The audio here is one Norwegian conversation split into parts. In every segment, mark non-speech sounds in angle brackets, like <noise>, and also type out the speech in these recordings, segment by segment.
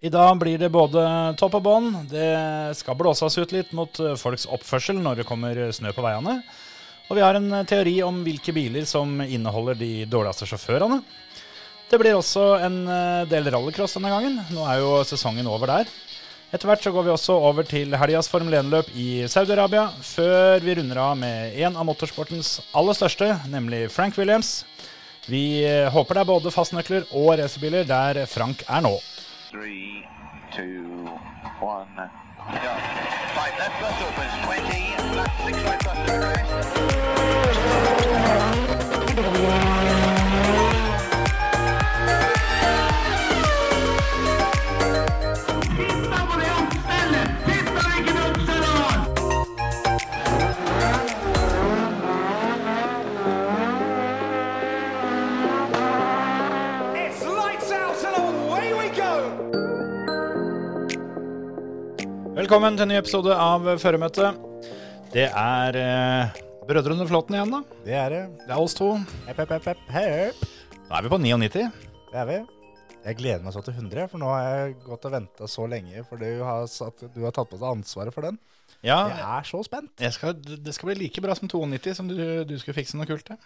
I dag blir det både topp og bånn. Det skal blåses ut litt mot eh, folks oppførsel når det kommer eh, snø på veiene. Og vi har en eh, teori om hvilke biler som inneholder de dårligste sjåførene. Det blir også en eh, del rallycross denne gangen. Nå er jo sesongen over der. Etter hvert så går vi også over til helgas Formel 1-løp i Saudi-Arabia, før vi runder av med en av motorsportens aller største, nemlig Frank Williams. Vi eh, håper det er både fastnøkler og racerbiler der Frank er nå. Three, two, one, go. Five left bus opens, 20, left six right bus to arrest. Titta på det oppstellet! Titta hvilken oppstell han har! It's lights out and away we go! Velkommen til en ny episode av Føremøtet. Det er eh, Brødrene Flåten igjen, da. Det er det. Det er oss to. Hepp, hepp, hepp, hepp. Hei, hei. Nå er vi på 99. Det er vi. Jeg gleder meg så til 100, for nå har jeg gått og venta så lenge fordi du har, satt, du har tatt på deg ansvaret for den. Ja, Jeg er så spent. jeg skal, det skal bli like bra som 92, som du, du skulle fikse noe kult til.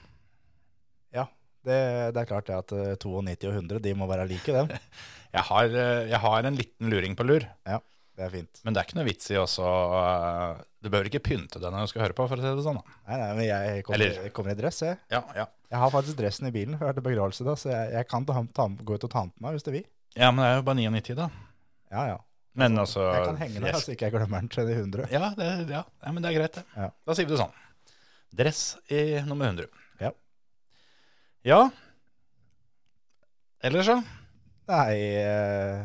Ja, det, det er klart det at eh, 92 og 100, de må være like, <laughs> dem. Jeg har, eh, jeg har en liten luring på lur, Ja, det er fint. men det er ikke noe vits i også eh, Du behøver ikke pynte deg når du skal høre på, for å si det sånn. da. Nei, nei, men jeg kommer, Eller- jeg kommer i dress, jeg. Ja, ja. Jeg har faktisk dressen i bilen, for jeg har vært i begravelse da, så jeg, jeg kan ta, ta, gå ut og ta den på meg hvis det vil. ja, men det er jo bare 99, da. Ja, ja. Men altså Jeg kan henge den yes. her, så ikke jeg glemmer den til de 100. ja, det, ja. ja, men det er greit, det. Ja. Da sier vi det sånn. Dress i nummer 100. Ja. Ja. Ellers, ja. Nei, eh,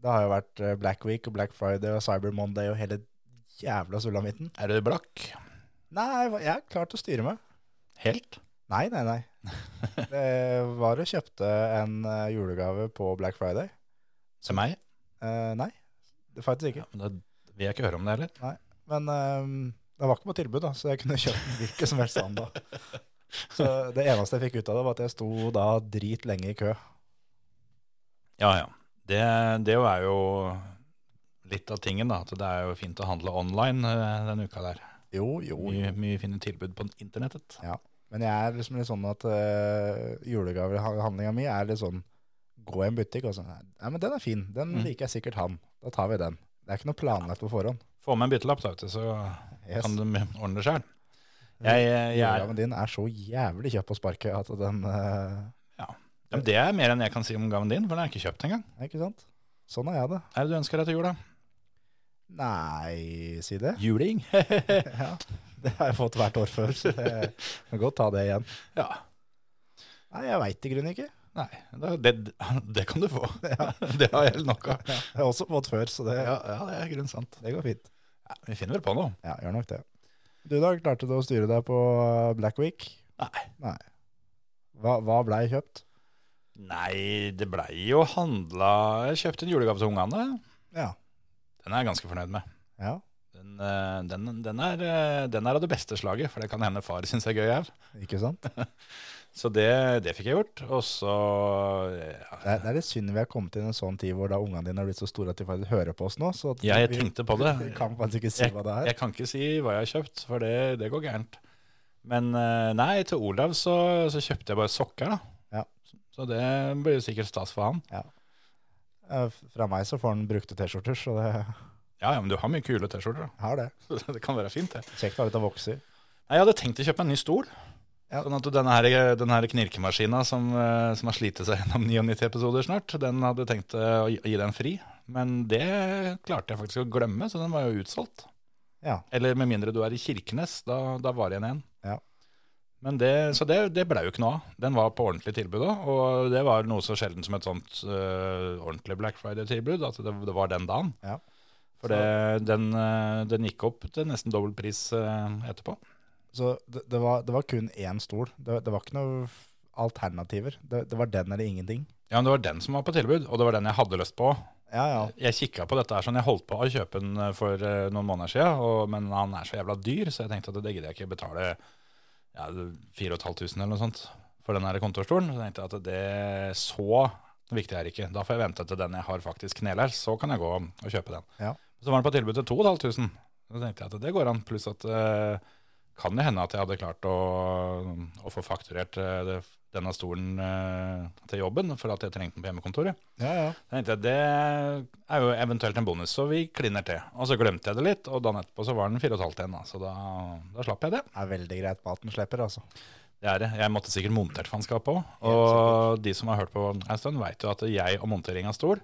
det har jo vært eh, Black Week og Black Friday og Cyber Monday og hele jævla sulamitten. Er du blakk? Nei, hva- jeg har klart å styre meg. Helt? Nei, nei, <laughs> nei. Det var og kjøpte en eh, julegave på Black Friday. Til meg? Eh, nei, det faktisk ikke. Ja, men da vil jeg ikke høre om det heller. Men eh, det var ikke på tilbud, da, så jeg kunne <laughs> kjøpt den hvilken som helst annen dag. Så det eneste jeg fikk ut av det, var at jeg sto da dritlenge i kø. Ja, ja. Det, det er jo litt av tingen, da. At det er jo fint å handle online eh, denne uka der. Jo, jo, Mye, mye fine tilbud på internettet. Ja, men jeg er liksom litt sånn at uh, julegavehandlinga mi er litt sånn Gå i en butikk og sånn Nei, men den er fin. Den Mm. liker jeg sikkert han. Da tar vi den. Det er ikke noe planlagt på forhånd. Få med en byttelapp, da, vet du, så Yes. kan du ordne det sjøl. Jeg, eh, jeg, jeg, er- Julegaven din er så jævlig kjøpt på sparket at den eh, Ja, men det er mer enn jeg kan si om gaven din, for den er ikke kjøpt engang. Ikke sant? Sånn er jeg det. Hva er det du ønsker deg til jul, da? Nei, si det. <laughs> Juling? <laughs> Ja, det har jeg fått hvert år før, så <laughs> det kan godt ta det igjen. ja. Nei, jeg veit i grunnen ikke. Nei, det, det, det kan <laughs> du få. Det har jeg nok av. Jeg har også fått før, så det, Ja, ja, det er grunnen sant. det går fint. Ja, vi finner vel på noe. Ja, gjør nok det. Du da, klarte du å styre deg på uh, Black Week? Nei. Nei. Hva, hva blei kjøpt? Nei, det blei jo handla Jeg kjøpte en julegave til ungene. Ja. Den er jeg ganske fornøyd med. Ja, Den, eh, den, den, er, eh, den er av det beste slaget, for det kan hende far syns er gøy òg. ikke <laughs> sant? Så det, det fikk jeg gjort. Og så eh, ja, Det er, det er litt synd vi har kommet inn i en sånn tid hvor da ungene dine har blitt så store at de faktisk hører på oss nå. Så at Jeg vi- tenkte på det. Vi kan faktisk ikke si hva det er. Jeg kan ikke si hva jeg har kjøpt, for det, det går gærent. Men eh, nei, til Olav så, så kjøpte jeg bare sokker, da. Ja. Så det blir jo sikkert stas for han. Eh, Fra meg så får han brukte T-skjorter, så det Ja, ja, men du har mye kule T-skjorter, har det. da. <laughs> Så det kan være fint, det. Kjekt å ha litt å vokse i. Nei, jeg hadde tenkt å kjøpe meg en ny stol. Ja. Sånn at denne her, denne her knirkemaskina som, eh, som har slitt seg <laughs> gjennom 99 episoder snart, den hadde jeg tenkt eh, å gi- å gi den fri. Men det klarte jeg faktisk å glemme, så den var jo utsolgt. Ja. Eller med mindre du er i Kirkenes, da, da var det igjen en. Ja. Men det, så det, det ble jo ikke noe av. Den var på ordentlig tilbud da, og det var noe så sjelden som et sånt eh, ordentlig Black Friday-tilbud, at det, det var den dagen. Ja. For det, den, eh, den gikk opp til nesten dobbelt pris eh, etterpå. Så det, det, var, det var kun én stol. Det, det var ikke noe f- alternativer. Det, det var den eller ingenting. Ja, men det var den som var på tilbud, og det var den jeg hadde lyst på. Ja, ja. Jeg kikka på dette her sånn, jeg holdt på å kjøpe den eh, for eh, noen måneder siden, og, men han er så jævla dyr, så jeg tenkte at det gidder jeg ikke betale ja, 4500 eller noe sånt for den her kontorstolen. Så tenkte jeg at det så Det viktige er ikke. Da får jeg vente til den jeg har faktisk kneler. Så kan jeg gå og kjøpe den. Ja. Så var den på tilbud til 2500. Da tenkte jeg at det går an. Pluss at eh, kan det hende at jeg hadde klart å, å få fakturert eh, det, denne stolen eh, til jobben, for at jeg trengte den på hjemmekontoret. Ja, ja. Da tenkte jeg, Det er jo eventuelt en bonus, så vi kliner til. Og så glemte jeg det litt, og dagen etterpå så var den 4,5 igjen, da, så da, da slapp jeg det. Det er veldig greit på at den slipper, altså. Det er det. Jeg måtte sikkert montert fanskap òg. Og de som har hørt på en stund, veit jo at jeg og montering av stol,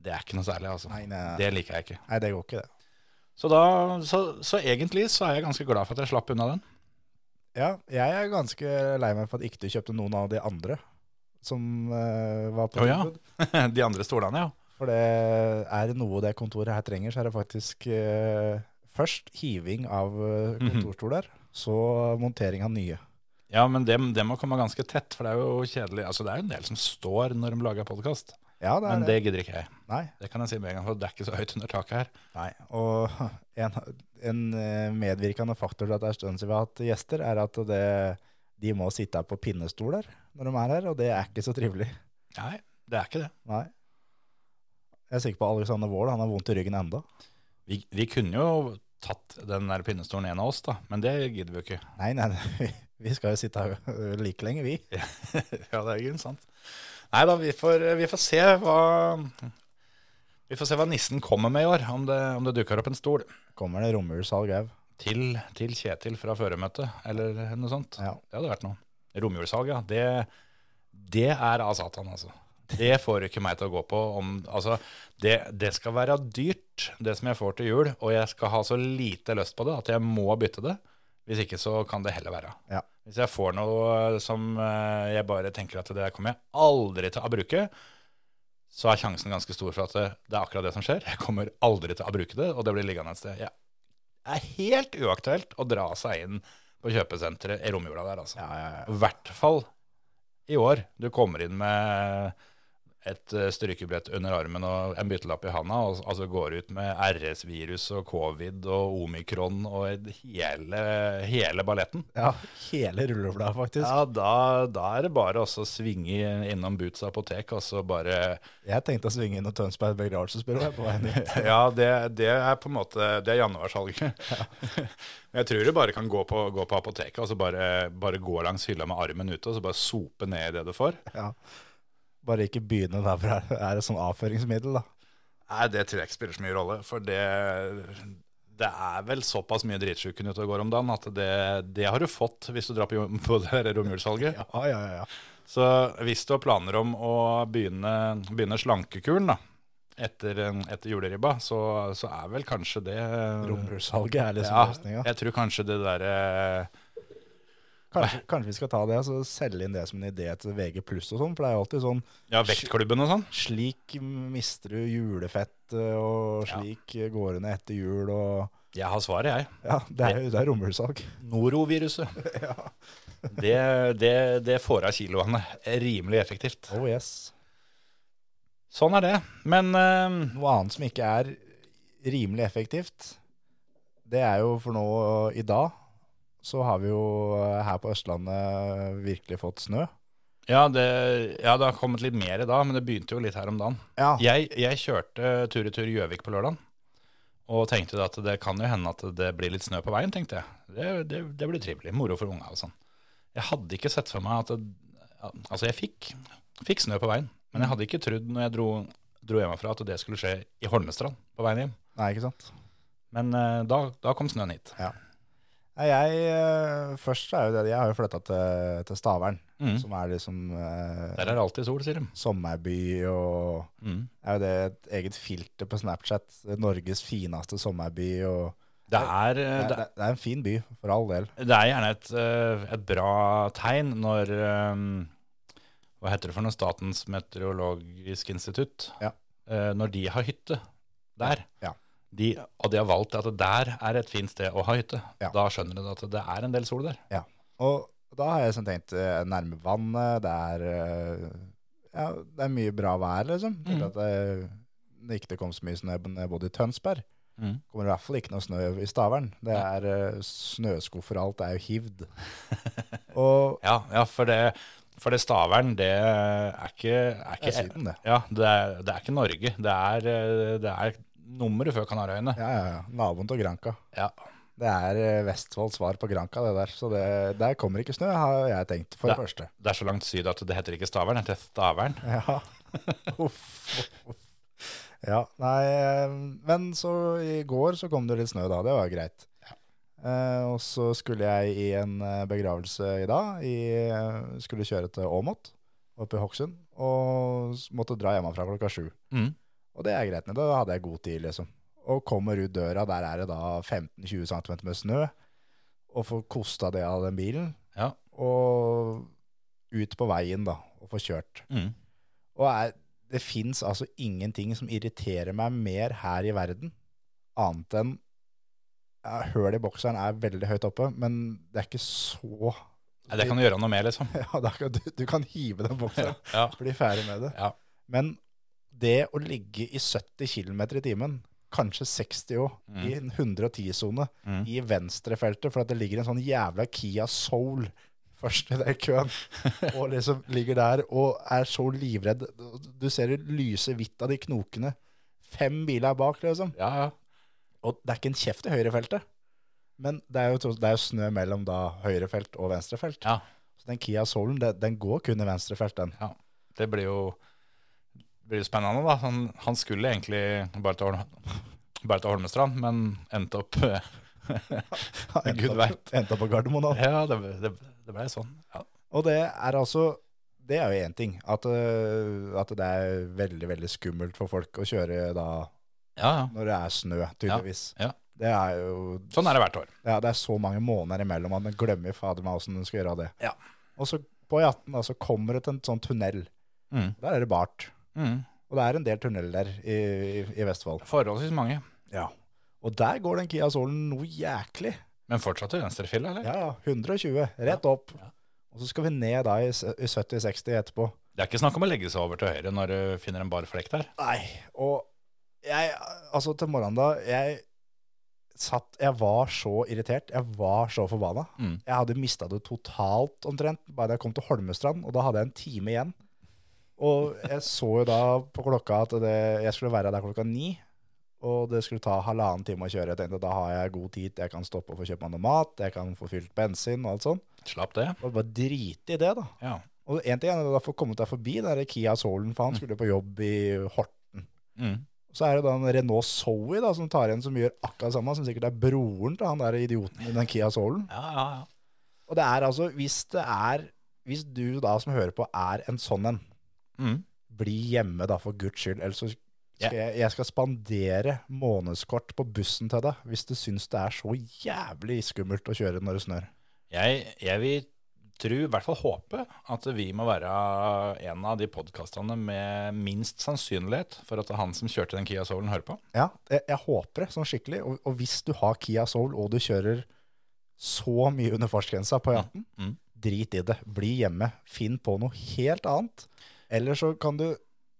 det er ikke noe særlig, altså. Nei, nei, nei. Det liker jeg ikke. Nei, det går ikke, det. Så, da, så, så egentlig så er jeg ganske glad for at jeg slapp unna den. <laughs> Ja, jeg er ganske lei meg for at ikke du kjøpte noen av de andre som eh, var på Å ja. tilbud. De andre stolene, ja. For det er det noe det kontoret her trenger, så er det faktisk eh, først hiving av eh, Mhm. kontorstoler, så montering av nye. Ja, men det, det må komme ganske tett, for det er jo kjedelig. Altså, det er jo en del som står når de lager podkast, Ja, det er men det. det gidder ikke jeg. Nei, Det kan jeg si med en gang, for det er ikke så høyt under taket her. nei. Og <laughs> en, en eh, medvirkende faktor til at det er stund siden vi har hatt gjester, er at det, de må sitte på pinnestoler når de er her, og det er ikke så trivelig. Nei, det er ikke det. Nei. Jeg er sikker på Alexander Wold, han har vondt i ryggen enda. Vi, vi kunne jo tatt den der pinnestolen en av oss, da, men det gidder vi jo ikke. Nei, nei, <laughs> nei, vi skal jo sitte her <laughs> eh, like lenge, vi. <laughs> ja, det er jo sant. Nei da, vi får, vi får se hva Vi får se hva nissen kommer med i år, om det, om det dukker opp en stol. Kommer det romjulsalg òg? Til, til Kjetil fra føremøtet, eller noe sånt. Ja. Det hadde vært noe. Romjulssalg, ja. Det, det er av satan, altså. Det får ikke meg til å gå på. Om, altså, det, det skal være dyrt, det som jeg får til jul, og jeg skal ha så lite lyst på det at jeg må bytte det. Hvis ikke så kan det heller være. Ja. Hvis jeg får noe som eh, jeg bare tenker at det der kommer jeg aldri til å bruke, så er sjansen ganske stor for at det, det er akkurat det som skjer. Jeg kommer aldri til å bruke det, og det blir liggende et sted. Jeg det er helt uaktuelt å dra seg inn på kjøpesenteret i romjula der, altså. Ja, ja, I hvert fall i år. Du kommer inn med et eh, strykebrett under armen og en byttelapp i handa, og s- altså går ut med RS-virus og covid og omikron og et- hele, hele balletten. Ja, hele rullebladet, faktisk. Ja, da, da er det bare også å svinge innom Boots apotek og så bare <laughs> Jeg tenkte å svinge inn og Tønsberg begravelsesbyrå jeg, på veien dit. <laughs> Ja, det, det er på en måte Det er januarsalget. <laughs> Men jeg tror du bare kan gå på, gå på apoteket og så bare, bare gå langs hylla med armen ute og så bare sope ned i det du får. Ja. Bare ikke begynne der, for det er et sånn avføringsmiddel, da. Nei, det tror jeg ikke spiller så mye rolle. For det, det er vel såpass mye dritsjuken ute og går om dagen at det, det har du fått hvis du drar på, <laughs> jo- på det der romjulssalget. Ja, ja, ja. Så hvis du har planer om å begynne, begynne slankekuren, da. Etter, etter juleribba, så, så er vel kanskje det Romjulssalget er liksom Ja, løsninga. jeg tror kanskje det eh, derre Kanskje, kanskje vi skal ta det og så selge inn det som en idé til VG pluss og sånn, for det er jo alltid sånn Ja, vektklubben og sånn. Slik mister du julefett, eh, og slik går det ned etter jul, og Jeg har svaret, jeg. Ja, det er jo det er romjulssalg. <laughs> Noroviruset. det, det, det får av kiloene rimelig effektivt. Oh yes. Sånn er det. Men eh, Noe annet som ikke er rimelig effektivt, det er jo for nå i dag, så har vi jo eh, her på Østlandet virkelig fått snø. ja, det, ja, det har kommet litt mer i dag, men det begynte jo litt her om dagen. Ja, Jeg, jeg kjørte tur i tur Gjøvik på lørdagen, og tenkte at det kan jo hende at det blir litt snø på veien, tenkte jeg. Det, det, det blir trivelig. Moro for unga og sånn. Jeg hadde ikke sett for meg at det, Altså, jeg fikk, fikk snø på veien, men jeg hadde ikke trodd når jeg dro, dro hjemmefra at det skulle skje i Holmestrand på veien hjem. Nei, ikke sant? Men eh, da, da kom snøen hit. Nei, jeg, eh, først så er jo det, jeg har jo flyttet til, til Stavern, Mm. som er liksom eh, Der er det alltid sol, sier de. sommerby, og Mm. er jo det et eget filter på Snapchat, Norges fineste sommerby, og Det, er, eh, det, det, det, det er en fin by, for all del. det er gjerne et, eh, et bra tegn når eh, Hva heter det for noe? Statens meteorologisk institutt. Ja. Eh, Når de har hytte der. Ja. De, og de har valgt at der er et fint sted å ha hytte. Ja. Da skjønner du at det er en del sol der. <laughs> Og da har jeg sånn tenkt eh, nærme vannet, det er, eh, ja, det er mye bra vær, liksom. Tenkte Mm. At det, det ikke kom så mye snø når jeg bodde i Tønsberg. Mm. Kommer i hvert fall ikke noe snø i Stavern. Det er eh, snøskuffer og alt, det er jo hivd. og Ja, ja for det, For det Stavern, det er ikke, er ikke Det er Syden, det. Ja, det er, det er ikke Norge. Det er, eh, det er nummeret før Kanarøyene. Ja, ja, ja. Naboen til Granka. Ja. Det er eh, Vestfolds svar på Granka, det der. Så det, der kommer ikke snø, har jeg tenkt, for det, Det- første. Det er så langt syd at det heter ikke Stavern, det heter Stavern. <laughs> Ja. Uff. uff. Ja, nei, eh, men så i går så kom det litt snø da, det var greit. Eh, og så skulle jeg i en eh, begravelse i dag, i, eh, skulle kjøre til Åmot, oppe i Hokksund, og s- måtte dra hjemmefra klokka sju. Mm. Og det er greit, men da hadde jeg god tid, liksom. Og kommer ut døra, der er det da 15-20 cm med snø, og får kosta det av den bilen, Ja. og ut på veien da, og få kjørt. Mm. Og er, det fins altså ingenting som irriterer meg mer her i verden, annet enn ja, Høl i bokseren er veldig høyt oppe, men det er ikke så Nei, Det kan du gjøre noe med, liksom. <laughs> ja, det er ikke, du, du kan hive den bokseren, Ja. bli ferdig med det. Ja. Men det å ligge i 70 km i timen, kanskje 60 òg, i en 110-sone, Mm. i venstrefeltet, for at det ligger en sånn jævla Kia Soul først i den <laughs> køen, og liksom ligger der og er så livredd. Du ser det lyse hvitt av de knokene. Fem biler bak, liksom. ja, ja. Og det er ikke en kjeft i høyrefeltet. Men det er jo, tross- det er jo snø mellom da høyrefelt og venstrefelt. Ja. Så den Kia Soulen, den, den går kun i venstrefelt, den. ja. Det blir jo det blir jo spennende, da. Han, han skulle egentlig bare til, Holm, bare til Holmestrand, men endte opp <laughs> eh, <laughs> Gud opp- vet. <laughs> Endte opp på Gardermoen. da. Ja, det, det, det ble sånn. Ja. Og det er altså Det er jo én ting. At, øh, at det er veldig, veldig skummelt for folk å kjøre da ja, ja. når det er snø, tydeligvis. ja. Det er jo Sånn er det hvert år. Ja, det er så mange måneder imellom at man glemmer fader meg åssen man skal gjøre av det. Ja. Og så på E18 da, så kommer det til en sånn tunnel. Mm. Der er det bart. Mm. Og det er en del tunneler der i, i, i Vestfold. Forholdsvis mange. Ja. Og der går den Kia Solen noe jæklig. Men fortsatt i venstrefil, eller? Ja, ja. 120. Rett opp. Og så skal vi ned da i, s- i 70-60 etterpå. Det er ikke snakk om å legge seg over til høyre når du finner en bar flekk der. Nei, og jeg, altså til morgenen da, jeg satt, jeg var så irritert, jeg var så forbanna. Mm. Jeg hadde mistet det totalt omtrent, bare da jeg kom til Holmestrand, og da hadde jeg en time igjen. Og jeg så jo da på klokka at det, jeg skulle være der klokka ni, og det skulle ta halvannen time å kjøre. Jeg tenkte, da har jeg god tid, jeg kan stoppe og få kjøpt meg noe mat, jeg kan få fylt bensin og alt sånt. Slapp det. Og bare drite i det da. Ja. Og en ting er at jeg får kommet deg forbi, det er Kia Solen, for han skulle på jobb i Horten. Mm. Så er det da en Renault Zoe da, som tar igjen, som gjør akkurat det samme, som sikkert er broren til han der idioten i den Kia Soulen. Ja, ja, ja. Og det er altså, hvis det er, hvis du da som hører på er en sånn en, Mm. bli hjemme da for Guds skyld, ellers så skal jeg, jeg skal spandere månedskort på bussen til deg, hvis du synes det er så jævlig skummelt å kjøre når det snør. Jeg, jeg vil tro, i hvert fall håpe, at vi må være en av de podkastene med minst sannsynlighet for at han som kjørte den Kia Soulen, hører på. Ja, jeg, jeg håper det sånn skikkelig, og, og hvis du har Kia Soul, og du kjører så mye under fartsgrensa på E18, Mm. drit i det. Bli hjemme. Finn på noe helt annet. Eller så kan du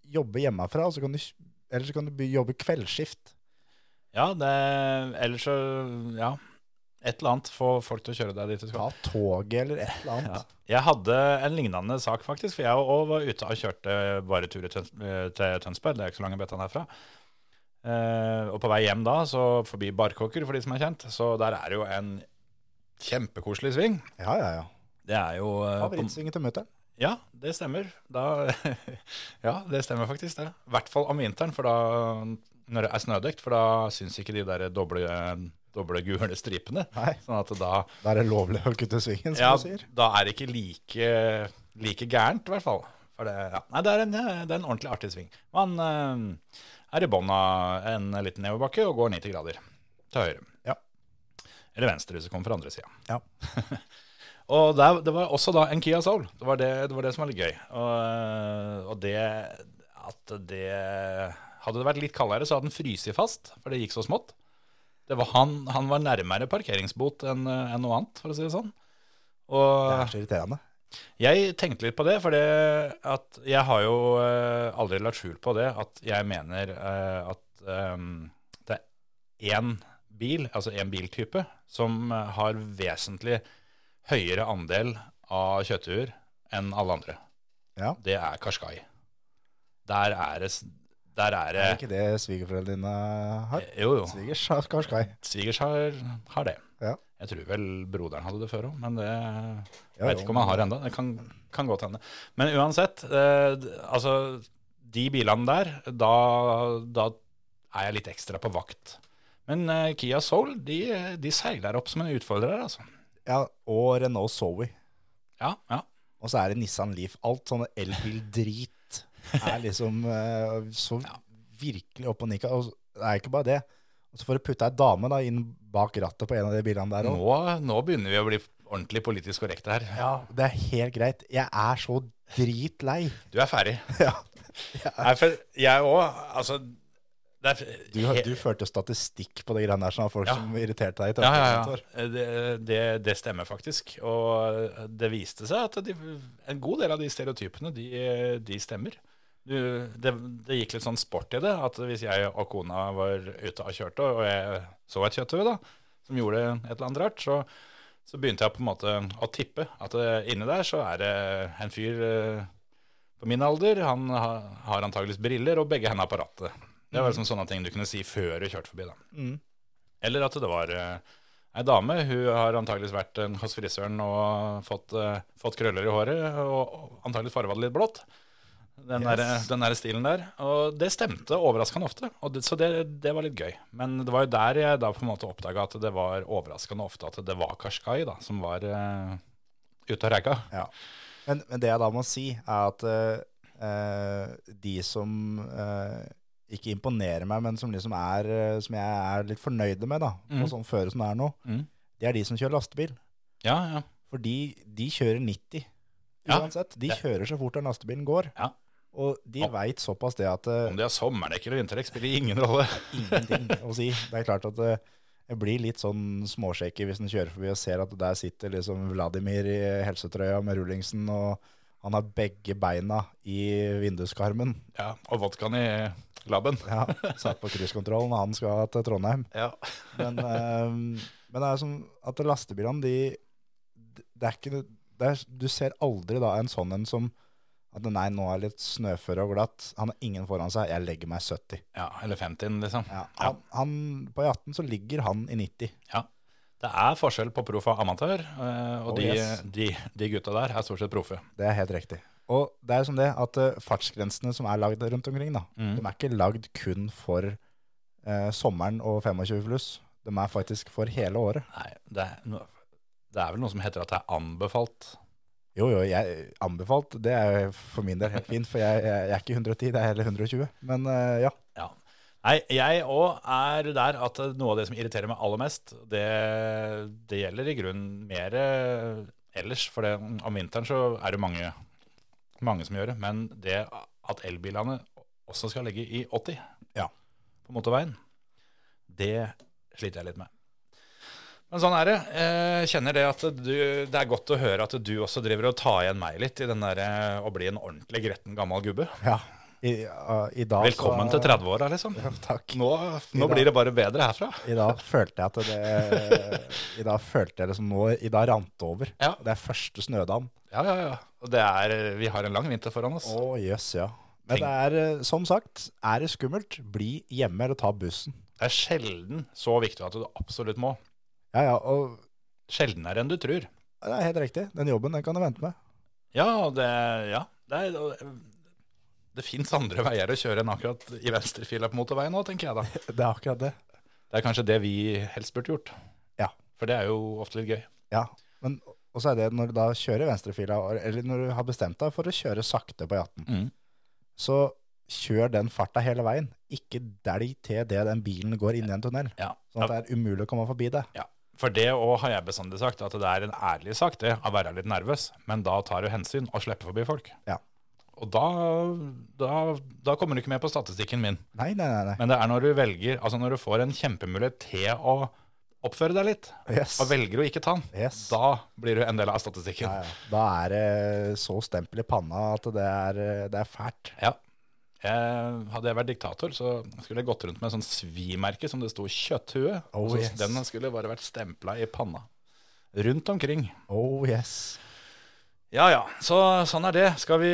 jobbe hjemmefra, og så kan du, eller så kan du by- jobbe kveldsskift. Ja, det, ellers så Ja. Et eller annet. Få folk til å kjøre deg dit du skal. Ta toget eller et eller annet. Ja. Jeg hadde en lignende sak, faktisk. For jeg òg var ute og kjørte bare turer til eh, til Tønsberg. Det er ikke så lange bøtta herfra. Eh, og på vei hjem da, så forbi Barkåker, for de som er kjent, så der er det jo en kjempekoselig sving. Ja, ja, ja. Det er jo eh, på- Favorittsvingen til mutter'n. Ja, det stemmer. Da, <laughs> ja, det stemmer faktisk, det. I hvert fall om vinteren, for da når det er snødekt, for da syns ikke de der doble, doble gule stripene. Nei. Sånn at da Da er det lovlig å kutte svingen, som ja, du sier. da er det ikke like, like gærent, i hvert fall. For det, ja. Nei, det er, en, det er en ordentlig artig sving. Man eh, er i bånn av en liten nedoverbakke og går 90 grader til høyre. Ja. Eller venstre, hvis du kommer fra andre sida. Ja. og der, det var også da en Kia Soul. Det var det, det, var det som var litt gøy. Og, eh, og det at det Hadde det vært litt kaldere, så hadde den fryst fast, for det gikk så smått. Det var han, han var nærmere parkeringsbot enn eh, enn noe annet, for å si det sånn. Og, Det er så irriterende. jeg tenkte litt på det, for at jeg har jo eh, aldri lagt skjul på det, at jeg mener eh, at eh, det er én bil, altså én biltype, som eh, har vesentlig høyere andel av kjøttuer enn alle andre. Ja. Det er Qashqai. Der er det s- Der er Er det det ikke det svigerforeldrene dine har? Jo, jo. Svigers har Karskai. Svigers har, har det. Ja. Jeg tror vel broderen hadde det før òg, men det Ja, jeg vet jo, ikke om han har det ennå. Det kan, kan godt hende. Men uansett, eh, d- altså de bilene der, da, da er jeg litt ekstra på vakt. Men eh, Kia Soul, de, de seiler opp som en utfordrer, altså. Ja, og Renault Zoe. Ja, ja. Og så er det Nissan Leaf. Alt sånne elbil-drit er liksom eh, så virkelig opp og nikka. Og det er ikke bare det. Og så får du putta ei dame da inn bak rattet på en av de bilene der òg. Nå, nå begynner vi å bli ordentlig politisk korrekte her. Ja, det er helt greit. Jeg er så dritlei. Du er ferdig. Ja. Nei, for jeg òg, altså det er, Du, du førte statistikk på det greiene der, sånn at folk Ja. som irriterte deg i Ja, ja, trafikken. ja. Det, det, det stemmer faktisk. Og det viste seg at de, en god del av de stereotypene, de, de stemmer. Du, det, det gikk litt sånn sport i det, at hvis jeg og kona var ute og kjørte, og jeg så et kjøttøy da, som gjorde et eller annet rart, så, så begynte jeg på en måte å tippe at eh, inne der så er det en fyr eh, på min alder, han ha- har antageligvis briller og begge hendene på rattet. Det var liksom sånne ting du kunne si før du kjørte forbi da. Eller at det var eh, ei dame. Hun har antageligvis vært eh, hos frisøren og fått, eh, fått krøller i håret, og antageligvis farga det litt blått. Den, der, den der stilen der. Og det stemte overraskende ofte, og det, så det, det var litt gøy. Men det var jo der jeg da på en måte oppdaga at det var overraskende ofte at det var Kashkai da, som var eh, ute og reika. Ja. Men, men det jeg da må si, er at eh, eh, de som eh, ikke imponerer meg, men som liksom er eh, Som jeg er litt fornøyde med, da, og sånn føre som det er nå, Mm. det er de som kjører lastebil. Ja, ja. For de, de kjører 90 Ja. uansett. De Ja. kjører så fort den lastebilen går. Ja. Og de Ja. vet veit såpass det at eh, Om de har sommerdekk eller vinterdekk, spiller ingen rolle. ingenting å si. Det er klart at eh, jeg blir litt sånn småsjekker hvis en kjører forbi og ser at der sitter liksom Vladimir i helsetrøya med rullingsen, og han har begge beina i vinduskarmen. Ja, og vodkaen i labben. Ja, satt på krysskontrollen, og han skal til Trondheim. Ja. Men, eh, men det er som at lastebilene, de Det er ikke det er, Du ser aldri da en sånn en som at nei, nå er det litt snøføre og glatt. Han har ingen foran seg. Jeg legger meg 70. ja eller 50-en, liksom. Ja, han, han, på E18 så ligger han i 90. Ja. Det er forskjell på proff og amatør, eh, og Oh, de, yes. de, de gutta der er stort sett proffe. Det er helt riktig. Og det er som det at eh, fartsgrensene som er lagd rundt omkring, da, Mm. de er ikke lagd kun for eh, sommeren og 25 pluss. De er faktisk for hele året. Nei, det er, no- det er vel noe som heter at det er anbefalt. Jo, jo, jeg anbefalt. Det er jo for min del helt fint, for jeg, jeg, jeg er ikke 110, det er heller 120. Men eh, ja. Ja. Nei, jeg òg er der at noe av det som irriterer meg aller mest, det, det gjelder i grunnen mer eh, ellers. For det, om vinteren så er det mange, mange som gjør det. Men det at elbilene også skal ligge i 80 Ja. på motorveien, det sliter jeg litt med. Men sånn er det. Jeg kjenner det at du, det er godt å høre at du også driver og tar igjen meg litt i den derre å bli en ordentlig gretten gammel gubbe. ja. I, eh, i dag, Velkommen så, <laughs> til 30-åra, liksom. Takk. Nå, nå blir det bare bedre herfra. I dag følte jeg at det I dag følte jeg det som nå I dag rant det over. Ja. Det er første snødagen. Ja, ja, ja. Og det er, vi har en lang vinter foran oss. Å, jøss, ja. Men det er, eh, som sagt, er det skummelt, bli hjemme eller ta bussen. Det er sjelden så viktig at du absolutt må. Ja, ja, og Sjeldnere enn du tror. det er helt riktig. Den jobben, den kan du vente med. Ja, og det, ja, det, er- og eh, det fins andre veier å kjøre enn akkurat i venstrefila på motorveien nå, tenker jeg da. Det Det er akkurat det. er kanskje det vi helst burde gjort. Ja. For det er jo ofte litt gøy. Ja, men og så er det når du da kjører venstrefila, eller når du har bestemt deg for å kjøre sakte på E18, Mm. så kjør den farta hele veien. Ikke delg til det den bilen går inn i en tunnel. Ja. Sånn at det er umulig å komme forbi det. Ja. For det òg har jeg bestandig sagt, at det er en ærlig sak det, å være litt nervøs, men da tar du hensyn og slipper forbi folk. Ja. Og da, da, da kommer du ikke med på statistikken min. Nei, nei, nei. nei. Men det er når du velger, altså når du får en kjempemulighet til å oppføre deg litt, Yes. og velger å ikke ta den, Yes. da blir du en del av statistikken. Ja, ja. Da er det så stempel i panna at det er, eh, det er fælt. Ja. Jeg, hadde jeg vært diktator, så skulle jeg gått rundt med en sånn svimerke som det sto 'kjøtthue'. Oh, og så yes. Den skulle bare vært stempla i panna. Rundt omkring. Oh yes. Ja ja, så sånn er det. Skal vi,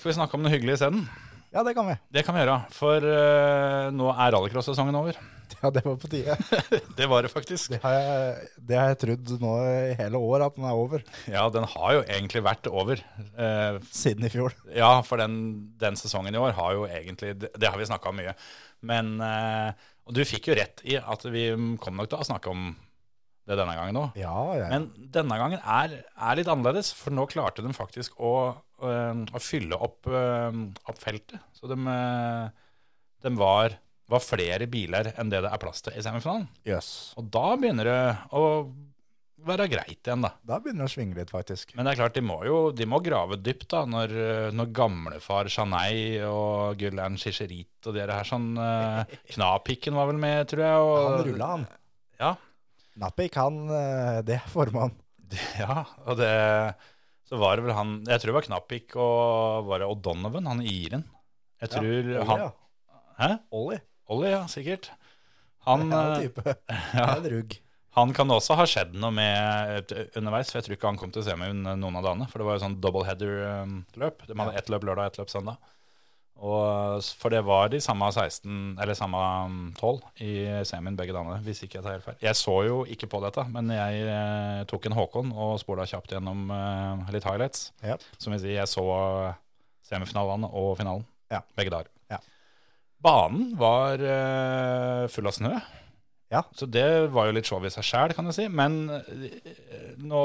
skal vi snakke om noe hyggelig isteden? Ja, det kan vi. Det kan vi gjøre, for eh, nå er rallycross-sesongen over. <laughs> Ja, det var på tide. Det var det faktisk. Det har jeg, det har jeg trodd nå i hele år at den er over, Ja, den har jo egentlig vært over. Eh, siden i fjor. Ja, for den, den sesongen i år har jo egentlig Det, det har vi snakka om mye. Men eh, Og du fikk jo rett i at vi kom nok til å snakke om det denne gangen òg. Ja, ja. Men denne gangen er, er litt annerledes, for nå klarte de faktisk å, eh, å fylle opp, eh, opp feltet. Så de, eh, de var, var flere biler enn det det er plass til i semifinalen. Jøss. Og da begynner det å være greit igjen, da. Da begynner det å svinge litt, faktisk. Men det er klart, de må jo de må grave dypt da, når, eh, når gamlefar Chanei og Gulan Shishirit og dere her sånn <laughs> eh, Knapikken var vel med, tror jeg. Og, Han rulla, han. Ja. Nappik, han eh, Det er formann. <laughs> ja, og det Så var det vel han Jeg tror det var Knapik og var det O'Donovan, han iren. Jeg tror Ollie, han eh, <laughs> ja. eh, Hæ? Ollie. Ollie, ja, sikkert. Han, Det er en eh, type. Det ja, er en rugg. han kan også ha skjedd noe med eh, underveis, for jeg tror ikke han kom til semi un- noen av dagene. For det var jo sånn double header-løp. De hadde ett løp lørdag og ett løp søndag. Og, s- for det var de samme 16, eller samme mm, 12 i semien begge dagene, hvis ikke jeg tar helt feil. Jeg så jo ikke på dette, men jeg eh, tok en Håkon og spola kjapt gjennom eh, litt highlights. Ja. Som vil si, jeg så semifinalene og finalen. Ja. Begge dager. Ja. Banen var eh, full av snø. Ja. Så det var jo litt show i seg sjæl, kan jeg si. Men eh, nå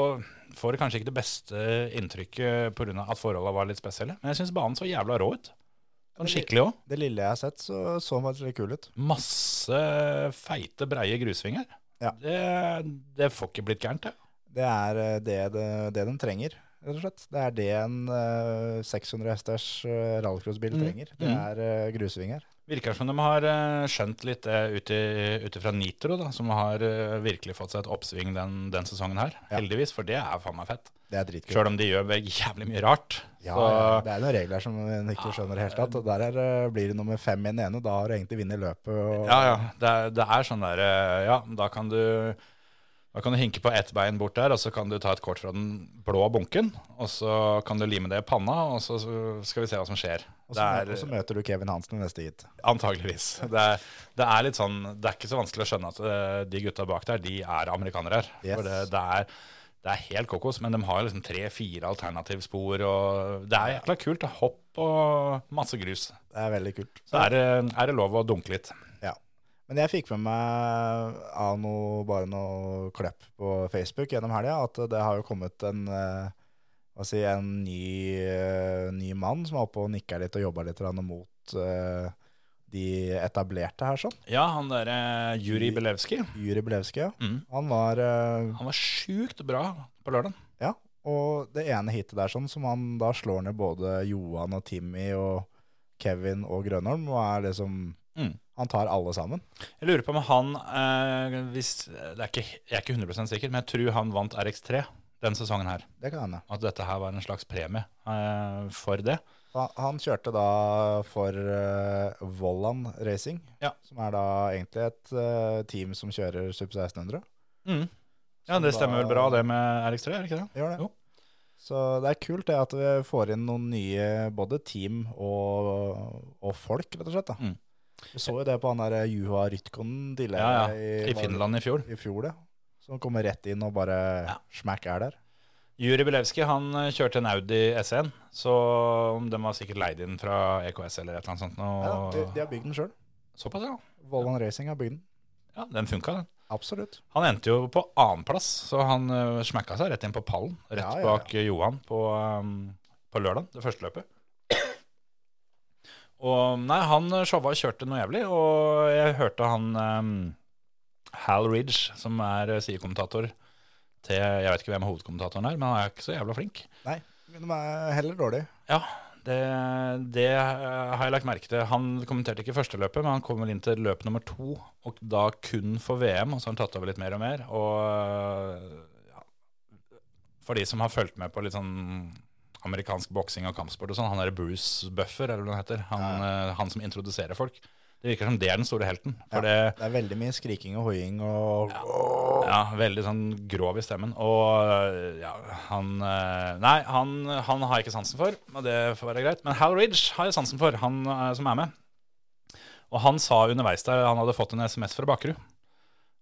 får du kanskje ikke det beste inntrykket pga. at forholdene var litt spesielle. Men jeg syns banen så jævla rå ut. Sånn skikkelig òg. Det lille jeg har sett, så så han faktisk litt kul ut. Masse feite, breie grusvinger. Ja. Det, det får ikke blitt gærent, det. Det er eh, det, det, det de trenger, rett og slett. Det er det en eh, 600 hesters eh, rallycrossbil trenger. Det Mm. er eh, grusvinger. Virker som de har eh, skjønt litt det ut i- ut ifra Nitro, da, som har eh, virkelig fått seg et oppsving den, den sesongen her. Ja. Heldigvis, for det er faen meg fett. Det er dritkult. Sjøl om de gjør jævlig mye rart. Ja, så, ja, det er noen regler som en ikke skjønner helt at og der er, eh, blir det nummer fem i den ene, da har du egentlig vunnet løpet. Og, Ja, ja. Det er, det er sånn der eh, Ja, da kan du da kan du hinke på ett bein bort der, og så kan du ta et kort fra den blå bunken. Og så kan du lime det i panna, og så så skal vi se hva som skjer. og, så, Det og så er møter du Kevin Hansen i neste hit. Antageligvis. Det er, det er litt sånn Det er ikke så vanskelig å skjønne at eh, de gutta bak der, de er amerikanere her. Yes. For det, det, er, det er helt kokos, men de har liksom tre-fire alternativspor, og det er jækla kult. Det er Hopp og masse grus. Det er veldig kult. Så er det, er det lov å dunke litt. Ja. Men jeg fikk med meg av noe, bare noe klepp på Facebook gjennom helga, at det har jo kommet en, eh, hva si, en ny, eh, ny mann som er oppe og nikker litt og jobber litt grann mot eh, de etablerte her sånn. Ja, han derre Juri Belevskij. Juri Belevskij. Mm. Han var eh, Han var sjukt bra på lørdagen. Ja, og det ene hitet der sånn, som han da slår ned både Johan og Timmy og Kevin og Grønholm, og er liksom Mm. Han tar alle sammen. Jeg lurer på om han eh, hvis, det er ikke, Jeg er ikke 100 sikker, men jeg tror han vant RX3 den sesongen her. Det kan hende. At dette her var en slags premie eh, for det. Han, han kjørte da for eh, Vollan Racing, Ja. som er da egentlig et eh, team som kjører Sub 1600. Mm. Ja, Som det da- stemmer vel bra, det med RX3, er det ikke det? Gjør det. Jo. Så det er kult det at vi får inn noen nye, både team og, og folk, rett og slett. da. Mm. Vi så jo det på han der Juha Rytkonen Ja, tidligere. ja. I Finland i fjor. i fjor, det. Som kommer rett inn og bare Ja. smack er der. Juri Belevskij han eh, kjørte en Audi S1, så den var sikkert leid inn fra EKS eller et eller annet sånt. Ja, de, Og... de har bygd den sjøl. Såpass, ja. Vollan Racing har bygd den. ja. Den funka, den. Absolutt. Han endte jo på annenplass, så han uh, smekka seg rett inn på pallen. Rett Ja, ja, ja. bak eh, Johan på, um, på lørdag, det første løpet. Og nei, han eh, showa og kjørte noe jævlig, og jeg hørte han em, Hal Ridge, som er eh, sidekommentator til Jeg vet ikke hvem hovedkommentatoren er, men han er ikke så jævla flink. Nei, men de er heller dårlige. Ja, det, det eh, har jeg lagt merke til. Han kommenterte ikke første løpet, men han kom vel inn til løp nummer to, og da kun for VM, og så har han tatt over litt mer og mer. Og eh, ja, for de som har fulgt med på litt sånn amerikansk boksing og kampsport og sånn, han derre Bruce Buffer, eller hva han heter, han, eh, han som introduserer folk. Det virker som det er den store helten. For det Det er veldig mye skriking og hoiing og ja, Veldig sånn grov i stemmen. Og ja, han eh, Nei, han, han har jeg ikke sansen for, og det får være greit. Men Hal Ridge har jeg sansen for, han eh, som er med. Og han sa underveis der Han hadde fått en SMS fra Bakkerud.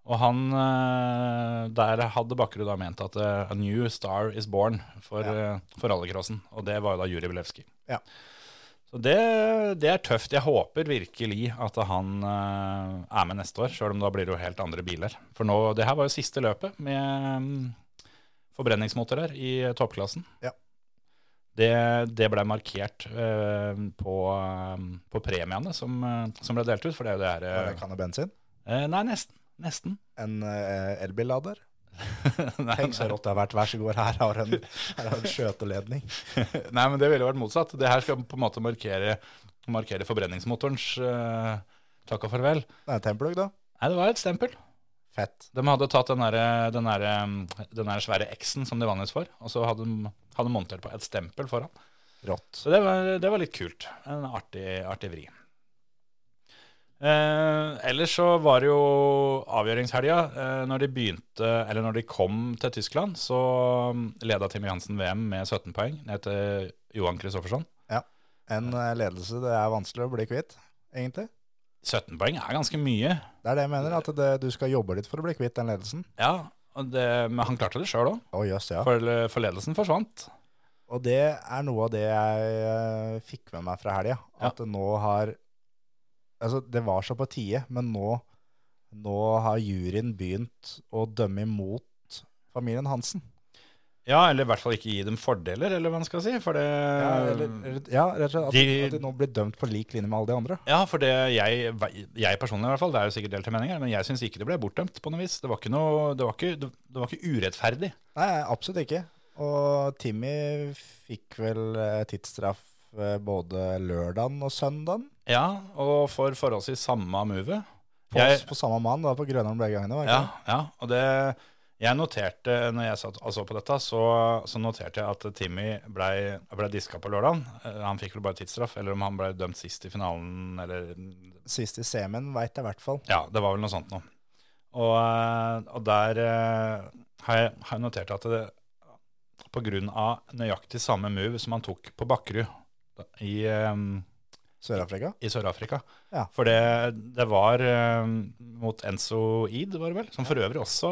Og han eh, Der hadde Bakkerud da ment at eh, A new star is born for, ja. for rallycrossen. Og det var jo da Juri Belewski. Ja. Så det, det er tøft. Jeg håper virkelig at han eh, er med neste år, sjøl om da blir det jo helt andre biler. For nå, det her var jo siste løpet med mm, forbrenningsmotorer i toppklassen. Ja. Det, det ble markert eh, på, eh, på premiene som, eh, som ble delt ut, for det er jo det her Hva er eh, det, Kan det bensin? eh, Nei, nesten. <laughs> Nesten. En eh, <laughs> elbillader? nei, Tenk så rått det har vært. Vær så god, her har du en, her har du en skjøteledning. nei, men det ville vært motsatt. Det her skal på en måte markere, markere forbrenningsmotorens eh, takk og farvel. Det er Templug, da. Nei, det var et stempel. Fett. De hadde tatt den der, den der, um, den der svære X-en som de vanligvis får, og så hadde de hadde de montert på et stempel foran. Rått. Så det var, det var litt kult. En artig, artig vri. Eh, ellers så var det jo avgjøringshelga. Eh, når de begynte, eller når de kom til Tyskland, så mm, leda Timmy Hansen VM med 17 poeng ned til Johan Kristoffersson. En eh, ledelse det er vanskelig å bli kvitt, egentlig. 17 poeng er ganske mye. Det er det jeg mener, at det, du skal jobbe litt for å bli kvitt den ledelsen. Ja, og det, Men han klarte det sjøl òg, Å, jøss, ja. for, for ledelsen forsvant. Og det er noe av det jeg eh, fikk med meg fra helga. At det nå har Altså, det var så på tide, men nå, nå har juryen begynt å dømme imot familien Hansen. Ja, eller i hvert fall ikke gi dem fordeler, eller hva man skal si. For det, Ja, eller, eller- ja rett og slett. At de, Eh, de- at de nå blir dømt på lik linje med alle de andre. Ja, for det jeg, jeg personlig i hvert fall, det er jo sikkert delte meninger, men jeg syns ikke det ble bortdømt på noe vis. Det var ikke, noe, det var ikke, det, det var ikke urettferdig. Nei, absolutt ikke. Og Timmy fikk vel eh, tidsstraff eh, både lørdagen og søndagen. Ja, og for forholdsvis samme move. På, Jeg- på samme mann, da, på Grønland begge gangene. var det Ja, ikke ja, og det jeg noterte, når jeg satt og så på dette, så, så noterte jeg at Timmy ble, ble diska på lørdagen. Eh, Han fikk vel bare tidsstraff, eller om han ble dømt sist i finalen, eller det? Sist i semien, veit jeg i hvert fall. Ja, det var vel noe sånt nå. Og, eh, og der eh, har jeg, har jeg notert at det, på grunn av nøyaktig samme move som han tok på Bakkerud da- i, eh, Sør-Afrika. i Sør-Afrika. Ja. For det, det var eh, mot Enzo Eid, var det vel? Som for øvrig også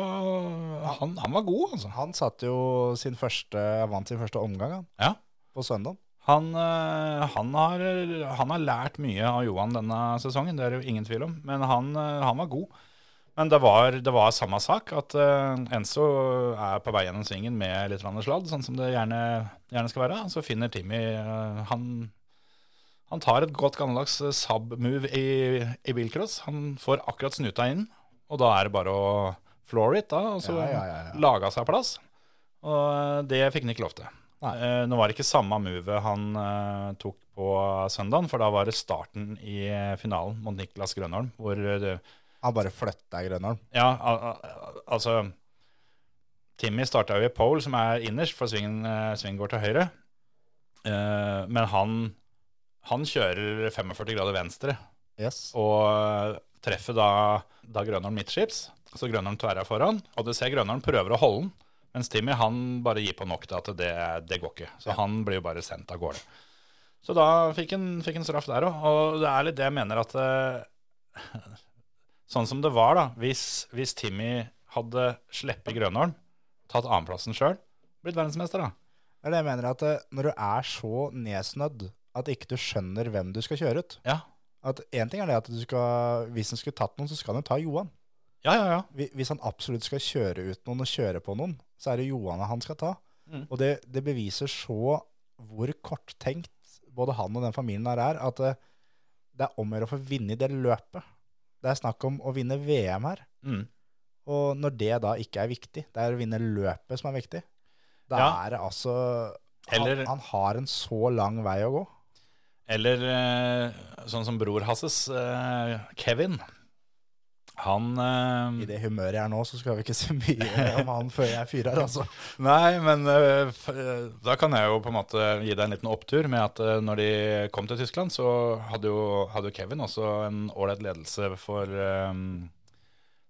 Han, han var god, altså. Han satt jo sin første, vant sin første omgang han, Ja. på søndag. Han, eh, han, har, han har lært mye av Johan denne sesongen, det er det jo ingen tvil om. Men han, eh, han var god. Men det var, det var samme sak, at eh, Enzo er på vei gjennom svingen med litt grann sladd, sånn som det gjerne, gjerne skal være. Så finner Timmy eh, han, han tar et godt gammeldags sub-move i, i bilcross. Han får akkurat snuta inn, og da er det bare å floor it, da, og så Ja, ja, ja, ja. laga seg plass. Og eh, det fikk han ikke lov til. Nei. Eh, Nå var det ikke samme move han eh, tok på søndagen, for da var det starten i eh, finalen mot Niklas Grønholm, hvor eh, det, Han bare flytta i Grønholm. Ja, al al altså Timmy starta jo i pole, som er innerst, for svingen, eh, svingen går til høyre. Eh, men han, han kjører 45 grader venstre Yes. og treffer da, da Grønholm midtskips. Så Grønholm tverra foran, og du ser Grønholm prøver å holde den. Mens Timmy han bare gir på nok til at det, det går ikke. Så han blir jo bare sendt av gårde. Så da fikk han fikk han straff der òg. Og det er litt det jeg mener at eh, Sånn som det var, da. Hvis, hvis Timmy hadde sluppet Grønholm, tatt annenplassen sjøl, blitt verdensmester, da. Det er det jeg mener at eh, når du er så nedsnødd at ikke du skjønner hvem du skal kjøre ut Ja, At Én ting er det at du skal, hvis han skulle tatt noen, så skal han jo ta Johan. ja, ja. ja. Hvi- Hvis han absolutt skal kjøre ut noen og kjøre på noen, så er det Johan han skal ta. Mm. Og det, det beviser så hvor korttenkt både han og den familien her er, at eh, det er om å gjøre å få vinne i det løpet. Det er snakk om å vinne VM her. Mm. Og når det da ikke er viktig, det er å vinne løpet som er viktig, da Ja. er det altså Eller- han, han har en så lang vei å gå. Eller eh, sånn som bror Hasses, eh, Kevin. Han eh, I det humøret jeg er nå, så skal vi ikke si mye <laughs> om han før jeg fyrer, altså. Nei, men eh, f- eh, da kan jeg jo på en måte gi deg en liten opptur med at eh, når de kom til Tyskland, så hadde jo, hadde jo Kevin også en ålreit ledelse for eh,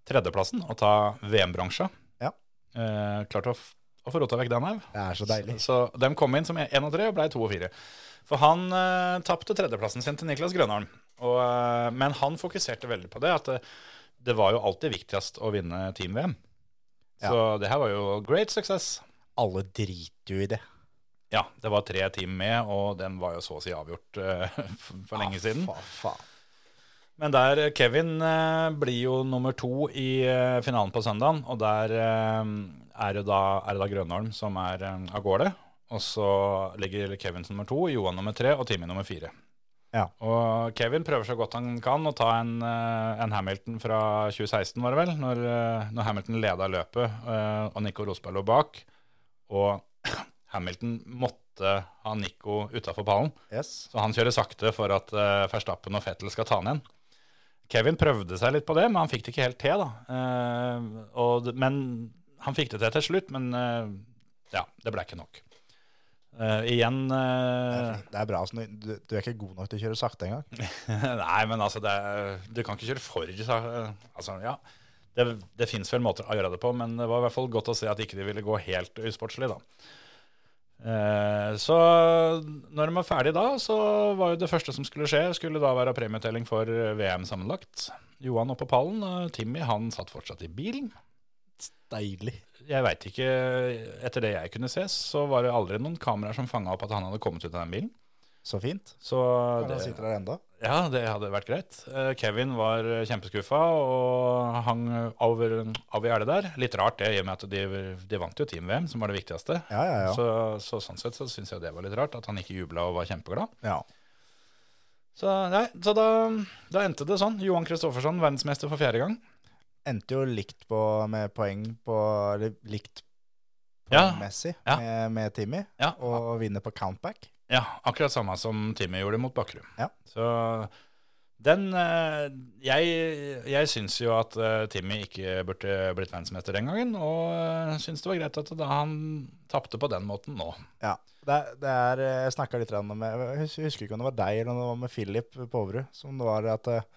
tredjeplassen, å ta VM-bransja. Ja. Eh, klarte å, f- å få rota vekk den her. Det er så deilig. Så de kom inn som 1 og 3 og ble 2 og 4. For han uh, tapte tredjeplassen sin til Niklas Grønholm. Og, eh, men han fokuserte veldig på det, at det, det var jo alltid viktigst å vinne Team-VM. Så det her var jo great success. Alle driter jo i det. Ja, det var tre team med, og den var jo så å si avgjort eh, <laughs> for for lenge siden. Fa, Ah, faen. Men der eh, Kevin eh, blir jo nummer to i eh, finalen på søndagen, og der eh, er det da, er det da Grønholm som er eh, av gårde. Og så ligger Kevin som nummer to, Johan nummer tre og Timmy nummer fire. Ja. Og Kevin prøver så godt han kan å ta en, eh, en Hamilton fra 2016, var det vel, når, eh, når Hamilton leda løpet eh, og Nico Rosberg lå bak. Og <clears throat> Hamilton måtte ha Nico utafor pallen. Yes. Så han kjører sakte for at eh, Verstappen og Fettel skal ta han igjen. Kevin prøvde seg litt på det, men han fikk det ikke helt til. da. Eh, og, d- men han fikk det til til slutt, men eh, ja, det ble ikke nok. Eh, igjen eh, Det er bra. Sånn, du, du er ikke god nok til å kjøre sakte engang. <laughs> Nei, men altså, det, er- du kan ikke kjøre for sa- altså, ja. Det, det fins vel måter å gjøre det på, men det var i hvert fall godt å se at ikke de ville gå helt usportslig, da. Eh, så når de var ferdig da, så var jo det første som skulle skje, skulle da være premieutdeling for VM sammenlagt. Johan oppe på pallen, og Timmy han satt fortsatt i bilen. Deilig. Jeg veit ikke, etter det jeg kunne se, så var det aldri noen kameraer som fanga opp at han hadde kommet ut av den bilen. Så fint. Så Han det, sitter der enda. ja, det hadde vært greit. Eh, Kevin var eh, kjempeskuffa og hang over, av i gjerdet der. Litt rart det, i og med at de, de vant jo Team-VM, som var det viktigste. Ja, ja, ja. Så, så sånn sett så syns jeg det var litt rart, at han ikke jubla og var kjempeglad. ja. Så, nei, så da, da endte det sånn. Johan Kristoffersson, verdensmester for fjerde gang. Endte jo likt på, med poeng på Eller likt Ja. poengmessig Ja. med, med Timmy, Ja, og vinner på countback. ja akkurat samme som Timmy gjorde mot Bakkerud. Ja. Så den eh, Jeg, jeg syns jo at eh, Timmy ikke burde blitt verdensmester den gangen, og eh, syns det var greit at da han tapte på den måten nå. Ja. Det, er- det er, eh, jeg snakka litt grann med Jeg hus- husker ikke om det var deg eller om det var med Philip på Overud. Som det var at, eh,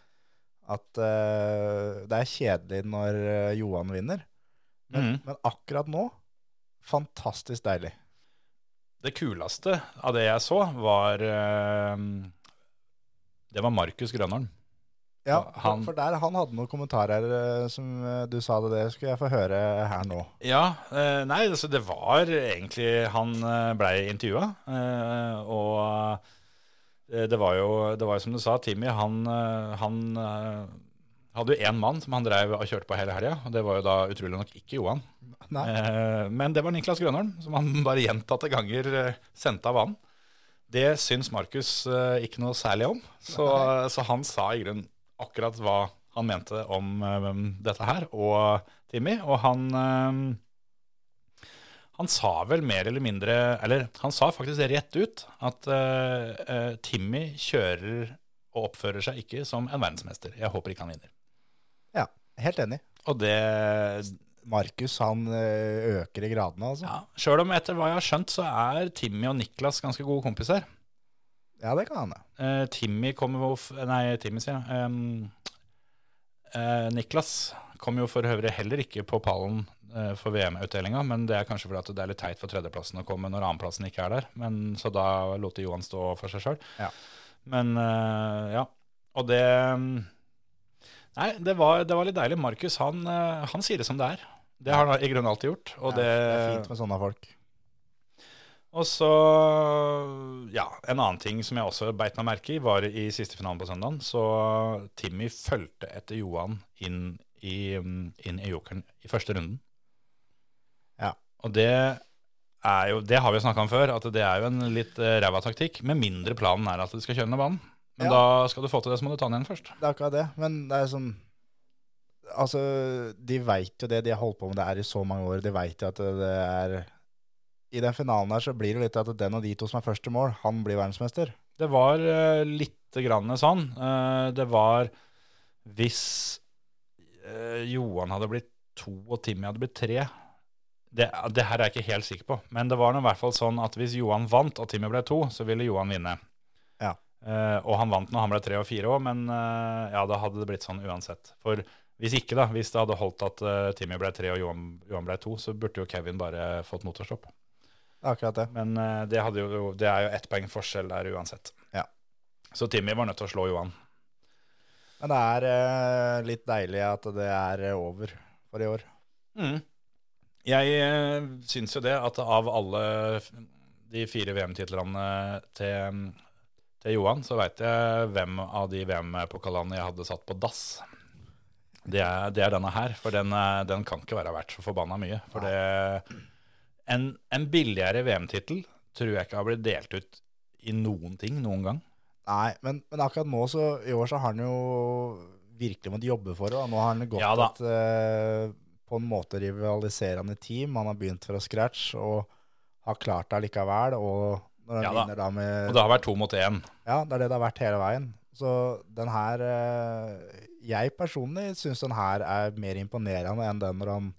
at eh, det er kjedelig når eh, Johan vinner. Men, Mhm. men akkurat nå fantastisk deilig. Det kuleste av det jeg så, var eh, Det var Markus Grønholm. Ja, Ja, han- for, for der han hadde noen kommentarer eh, som eh, du sa det, det skulle jeg få høre her nå. Ja, eh, nei, altså det var egentlig Han eh, ble intervjua, eh, og eh, det var jo det var jo som du sa, Timmy, han, eh, han eh, hadde jo én mann som han drev og kjørte på hele helga, og det var jo da utrolig nok ikke Johan. Nei, Eh, Men det var Niklas Grønholm, som han bare gjentatte ganger eh, sendte av banen. Det syns Markus eh, ikke noe særlig om, så, så han sa i grunnen akkurat hva han mente om eh, dette her, og Timmy. Og han eh, Han sa vel mer eller mindre Eller han sa faktisk rett ut at eh, eh, Timmy kjører og oppfører seg ikke som en verdensmester. Jeg håper ikke han vinner. ja, helt enig. Og det Markus han eh, øker i gradene, altså. Ja, Ja, Sjøl om etter hva jeg har skjønt, så er Timmy og Niklas ganske gode kompiser. det kan hende. Eh, Timmy kommer jo f- Nei, Timmy sier jeg. Em, eh, Niklas kom jo for øvrig heller ikke på pallen eh, for VM-utdelinga, men det er kanskje fordi at det er litt teit for tredjeplassen å komme når annenplassen ikke er der. Men, så da lot de Johan stå for seg sjøl. Ja. Men eh, ja. Og det em, Nei, det var, det var litt deilig. Markus han, eh, han sier det som det er. Det har han i grunnen alltid gjort. Og Ja, det, det er fint med sånne folk. Og så, ja, en annen ting som jeg også beit meg merke i, var i siste finalen på søndagen, så Timmy fulgte etter Johan inn i, inn i jokeren i første runden. Ja. Og det er jo, det har vi jo snakka om før, at det er jo en litt eh, ræva taktikk, med mindre planen er at du skal kjøre ned banen. Men Ja. da skal du få til det, så må du ta den igjen først. Det er akkurat det, men det er sånn Altså, de veit jo det, de har holdt på med det her i så mange år. De veit jo at det er I den finalen her så blir det litt at den av de to som er først i mål, han blir verdensmester. Det var uh, litt grann sånn. Eh, det var hvis eh, eh, Johan hadde blitt to og Timmy hadde blitt tre. Det, det her er jeg ikke helt sikker på, men det var nå i hvert fall sånn at hvis Johan vant og Timmy ble to, så ville Johan vinne. Ja. Eh, og han vant når han ble tre og fire òg, men eh, ja, da hadde det blitt sånn uansett. For hvis ikke, da, hvis det hadde holdt at eh, Timmy ble tre og Johan, Johan ble to, så burde jo Kevin bare fått motorstopp. Det er akkurat det. Men eh, det, hadde jo, det er jo ett poeng forskjell der uansett. Ja. Så Timmy var nødt til å slå Johan. Men det er eh, litt deilig at det er eh, over for i år. Mm. Jeg eh, syns jo det at av alle f- de fire VM-titlene til, mm, til Johan, så veit jeg hvem av de VM-pokalene jeg hadde satt på dass. Det er, det er denne her, for den, eh, den kan ikke være verdt så forbanna mye. For det, en, en billigere VM-tittel tror jeg ikke har blitt delt ut i noen ting noen gang. Nei, men, men akkurat nå så, i år så har han jo virkelig måttet jobbe for det. da. Nå har han gått Ja da. et eh, på en måte rivaliserende team. Han har begynt fra scratch og har klart det likevel. Og når han Ja da. vinner da med Og det har vært to mot én. Ja, det er det det har vært hele veien. Så den her eh, Jeg personlig syns den her er mer imponerende enn den når han,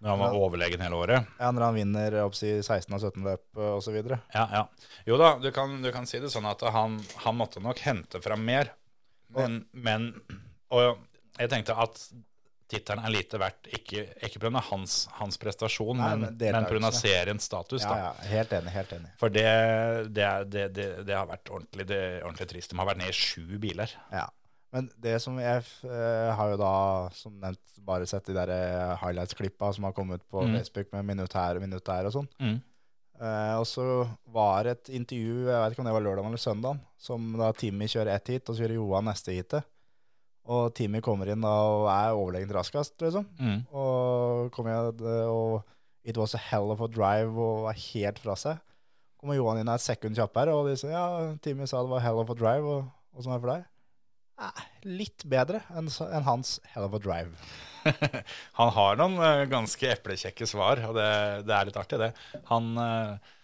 Når han var overlegen hele året. ja, når han vinner oppsi 16 av 17 løp eh, og så videre. Ja, ja. Jo da, du kan, du kan si det sånn at han, han måtte nok hente fram mer. Men, men Og jeg tenkte at tittelen er lite verdt, ikke, ikke pga. Hans, hans prestasjon, Nei, men, men deltakelse. men pga. seriens status. Ja, da. ja, helt enig. Helt enig. For det, det, er- det, det, det har vært ordentlig, det, er ordentlig trist. De har vært ned i sju biler. Ja. Men det som jeg eh, har jo da, som nevnt, bare sett de der eh, highlights-klippa som har kommet på Mm. Facebook med minutt her og minutt der og sånn. Mm. Eh, og så var et intervju, jeg vet ikke om det var lørdag eller søndag, som da Timmy kjører ett hit, og så kjører Johan neste hitet. Og Timmy kommer inn da og er overlegent raskest, liksom. Mm. Og kom igjen, eh, og it was a hell of a drive, og var helt fra seg. Kommer Johan inn er et sekund kjappere, og de sier, ja, Timmy sa det var hell of a drive, og, og sånn er det for deg. Nei, litt bedre enn s- enn hans hell of a drive. Han har noen eh, ganske eplekjekke svar, og det, det er litt artig, det. Han, eh,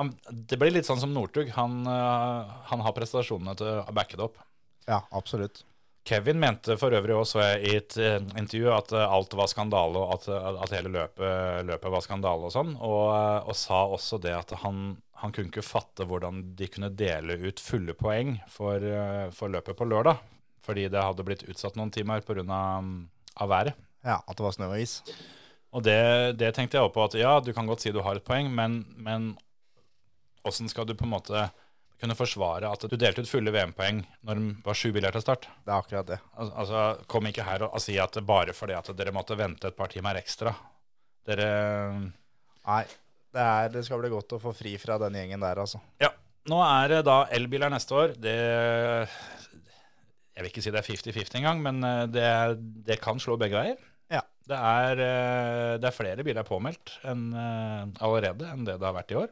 han, det blir litt sånn som Northug. Han, eh, han har prestasjonene til å backe det opp. Ja, absolutt. Kevin mente for øvrig også i et eh, intervju at eh, alt var skandale, og at, eh, at hele løpet, løpet var skandale og sånn, og, eh, og sa også det at han, han kunne ikke fatte hvordan de kunne dele ut fulle poeng for, eh, for løpet på lørdag, fordi det hadde blitt utsatt noen timer pga. av været. Ja, at det var snø og is. Og det, det tenkte jeg også på, at ja, du kan godt si du har et poeng, men, men hvordan skal du på en måte kunne forsvare at du delte ut fulle VM-poeng når det var sju biler til start? Det er akkurat det. Al altså, kom ikke her og, og si at det bare fordi at dere måtte vente et par timer ekstra. Dere Nei, det, er, det skal bli godt å få fri fra den gjengen der, altså. Ja, nå er det da elbiler neste år. Det Jeg vil ikke si det er 50-50 engang, men eh, det, det kan slå begge veier. Ja. Det er, eh, det er flere biler påmeldt enn, eh, allerede enn det det har vært i år.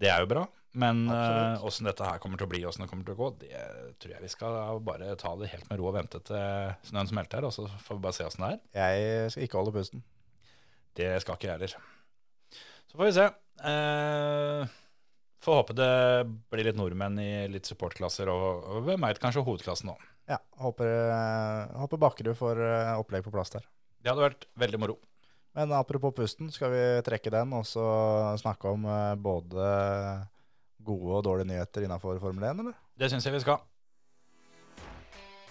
Det er jo bra. Men eh, Absolutt. åssen dette her kommer til å bli, åssen det kommer til å gå, det tror jeg vi skal bare ta det helt med ro og vente til snøen smelter, og så får vi bare se åssen det er. Jeg skal ikke holde pusten. Det skal ikke jeg heller. Så får vi se. Eh, får håpe det blir litt nordmenn i litt supportklasser, og, og hvem veit, kanskje hovedklassen òg. Ja, håper, eh, håper Bakkerud får eh, opplegg på plass der. Det hadde vært veldig moro. Men apropos pusten, skal vi trekke den og så snakke om eh, både gode og dårlige nyheter innafor Formel 1, eller? Det syns jeg vi skal.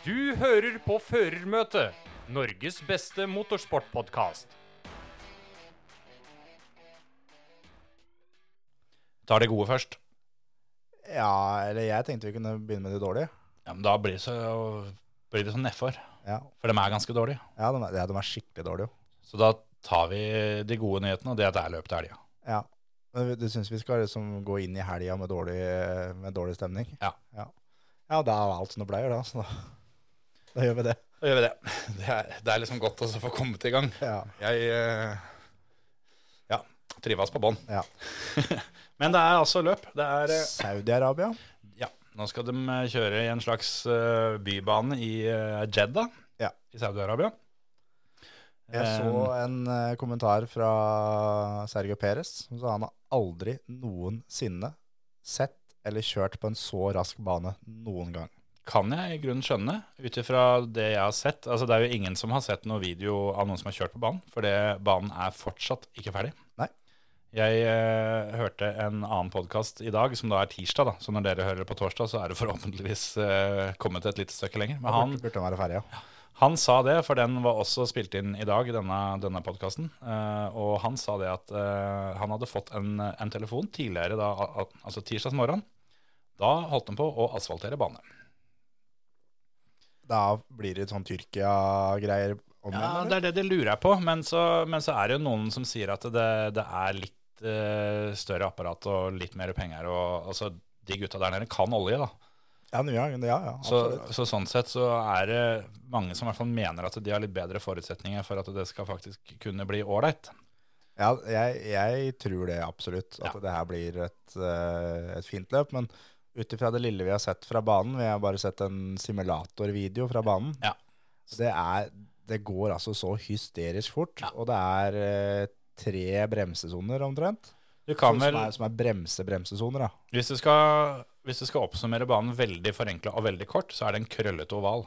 Du hører på Førermøtet, Norges beste motorsportpodkast. Tar det gode først. Ja, eller jeg tenkte vi kunne begynne med de dårlige. Ja, men da blir det så, blir det så nedfor, Ja, for de er ganske dårlige. ja de, er, ja, de er skikkelig dårlige, jo. Så da tar vi de gode nyhetene, og det er at det er løp til helga. Ja. Men vi- du syns vi skal liksom gå inn i helga med, dårlig- med dårlig stemning? Ja. Ja, ja da er alt som det pleier, da. Så da, da gjør vi det. Da gjør vi det. <laughs> Det er, det er liksom godt også å få kommet i gang. Ja. Jeg eh, ja, trives på bånn. Ja. Men det er altså løp. Det er eh, Saudi-Arabia? Ja, nå skal de eh, kjøre i en slags eh, bybane i eh, Jeddah Ja. i Saudi-Arabia. Jeg så Ehm. en eh, kommentar fra Sergio Perez som sa han har aldri noensinne sett eller kjørt på en så rask bane noen gang. kan jeg i grunnen skjønne, ut ifra det jeg har sett. Altså, det er jo ingen som har sett noen video av noen som har kjørt på banen, for det, banen er fortsatt ikke ferdig. Nei. Jeg eh, hørte en annen podkast i dag, som da er tirsdag, da. så når dere hører det på torsdag, så er det forhåpentligvis eh, kommet et lite stykke lenger. Men han, Burde, burde være ferdig, ja. han sa det, for den var også spilt inn i dag, denne, denne podkasten. og han sa det at eh, han hadde fått en, en telefon tidligere, da, al- al- altså tirsdags morgen. Da holdt han på å asfaltere bane. Da blir det sånn Tyrkia-greier om igjen, Ja, eller? det er det det lurer jeg på. Men så, men så er det jo noen som sier at det, det er litt eh, større apparat og litt mer penger. Og, altså, de gutta der nede kan olje, da. Ja, nye gangen, ja, ja, Så, absolutt. så sånn sett så er det mange som i hvert fall mener at de har litt bedre forutsetninger for at det skal faktisk kunne bli ålreit. Ja, jeg, jeg tror det absolutt, at Ja. det her blir et, eh, et fint løp. Men ut ifra det lille vi har sett fra banen, vi har bare sett en simulatorvideo fra banen. Ja. Det, er, det går altså så hysterisk fort, og det er eh, tre bremsesoner omtrent. Du kan som, vel, som er, som er bremse-bremsesoner, da. hvis du skal, hvis du skal oppsummere banen veldig forenkla og veldig kort, så er det en krøllete oval.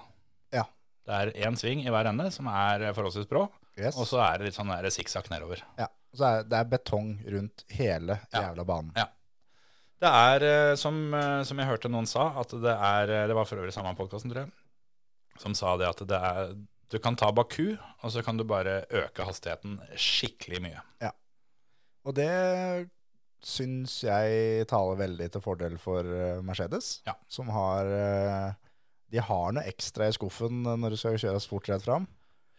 Ja. Det er én sving i hver ende som er forholdsvis brå, Yes. og så er det litt sånn der sikksakk nedover. ja. så er, det er betong rundt hele Ja. jævla banen. Det er, eh, som, eh, som jeg hørte noen sa, at det er eh, Det var for øvrig samme podkasten, tror jeg, som sa det at det er Du kan ta Baku, og så kan du bare øke hastigheten skikkelig mye. Og det syns jeg taler veldig til fordel for eh, Mercedes, Ja. som har eh, De har noe ekstra i skuffen når du skal kjøres fort rett fram.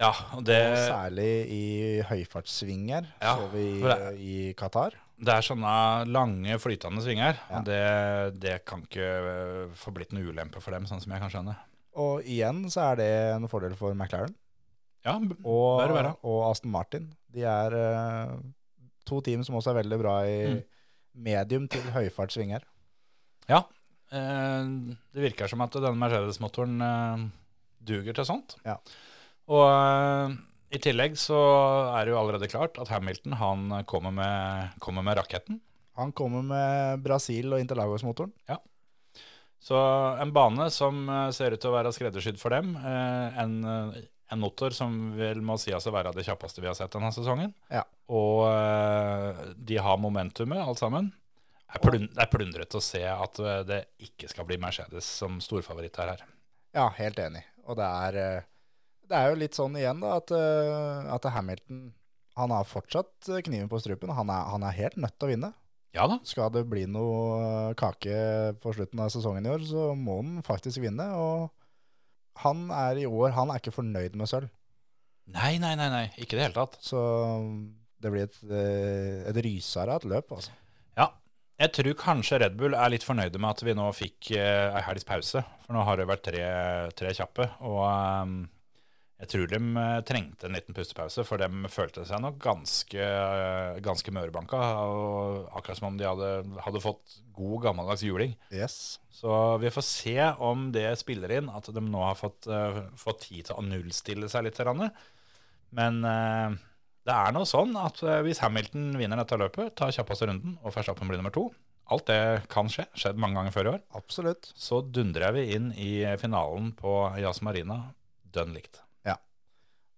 Ja, og det, Og særlig i høyfartssvinger, Eh. Ja, så vi for det- i Qatar. det er sånne lange, flytende svinger. Ja. Og det, det kan ikke eh, få blitt noe ulempe for dem, sånn som jeg kan skjønne. Og igjen så er det en fordel for McLaren Ja, b- og, Bare være. og Aston Martin. De er eh, to team som også er veldig bra i Mm. medium til høyfartssvinger. ja eh, det virker som at denne Mercedes-motoren eh, duger til sånt. Ja. Og eh, i tillegg så er det jo allerede klart at Hamilton han kommer med, kommer med raketten. Han kommer med Brasil og Interlagos-motoren. Så en bane som eh, ser ut til å være skreddersydd for dem, eh, en, eh, en motor som vel må sies å være det kjappeste vi har sett denne sesongen, Ja. og eh, de har momentumet alt sammen. Det er plund- Det er plundret å se at eh, det ikke skal bli Mercedes som storfavoritt her. her. Ja, helt enig. Og det er, eh, det er jo litt sånn igjen da, at, eh, at Hamilton han har fortsatt eh, kniven på strupen. Han er, han er helt nødt til å vinne. Ja da, Skal det bli noe eh, kake på slutten av sesongen i år, så må han faktisk vinne. Og han er i år han er ikke fornøyd med sølv. nei, nei, nei, nei, ikke i det hele tatt. Så det blir et, eh, et rysere av et løp, altså. Ja, jeg tror kanskje Red Bull er litt fornøyde med at vi nå fikk eh, ei helgs pause. For nå har det vært tre, tre kjappe, og eh, jeg tror de eh, trengte en liten pustepause. For de følte seg nok ganske, eh, ganske mørebanka, og akkurat som om de hadde, hadde fått god gammeldags juling. Yes. Så vi får se om det spiller inn, at de nå har fått, eh, fått tid til å nullstille seg litt. grann. Men eh, det er nå sånn at eh, hvis Hamilton vinner dette løpet, tar kjappeste runden, og Verstappen blir nummer to Alt det kan skje, skjedd mange ganger før i år. Absolutt. Så dundrer vi inn i finalen på Jazz Marina dønn likt.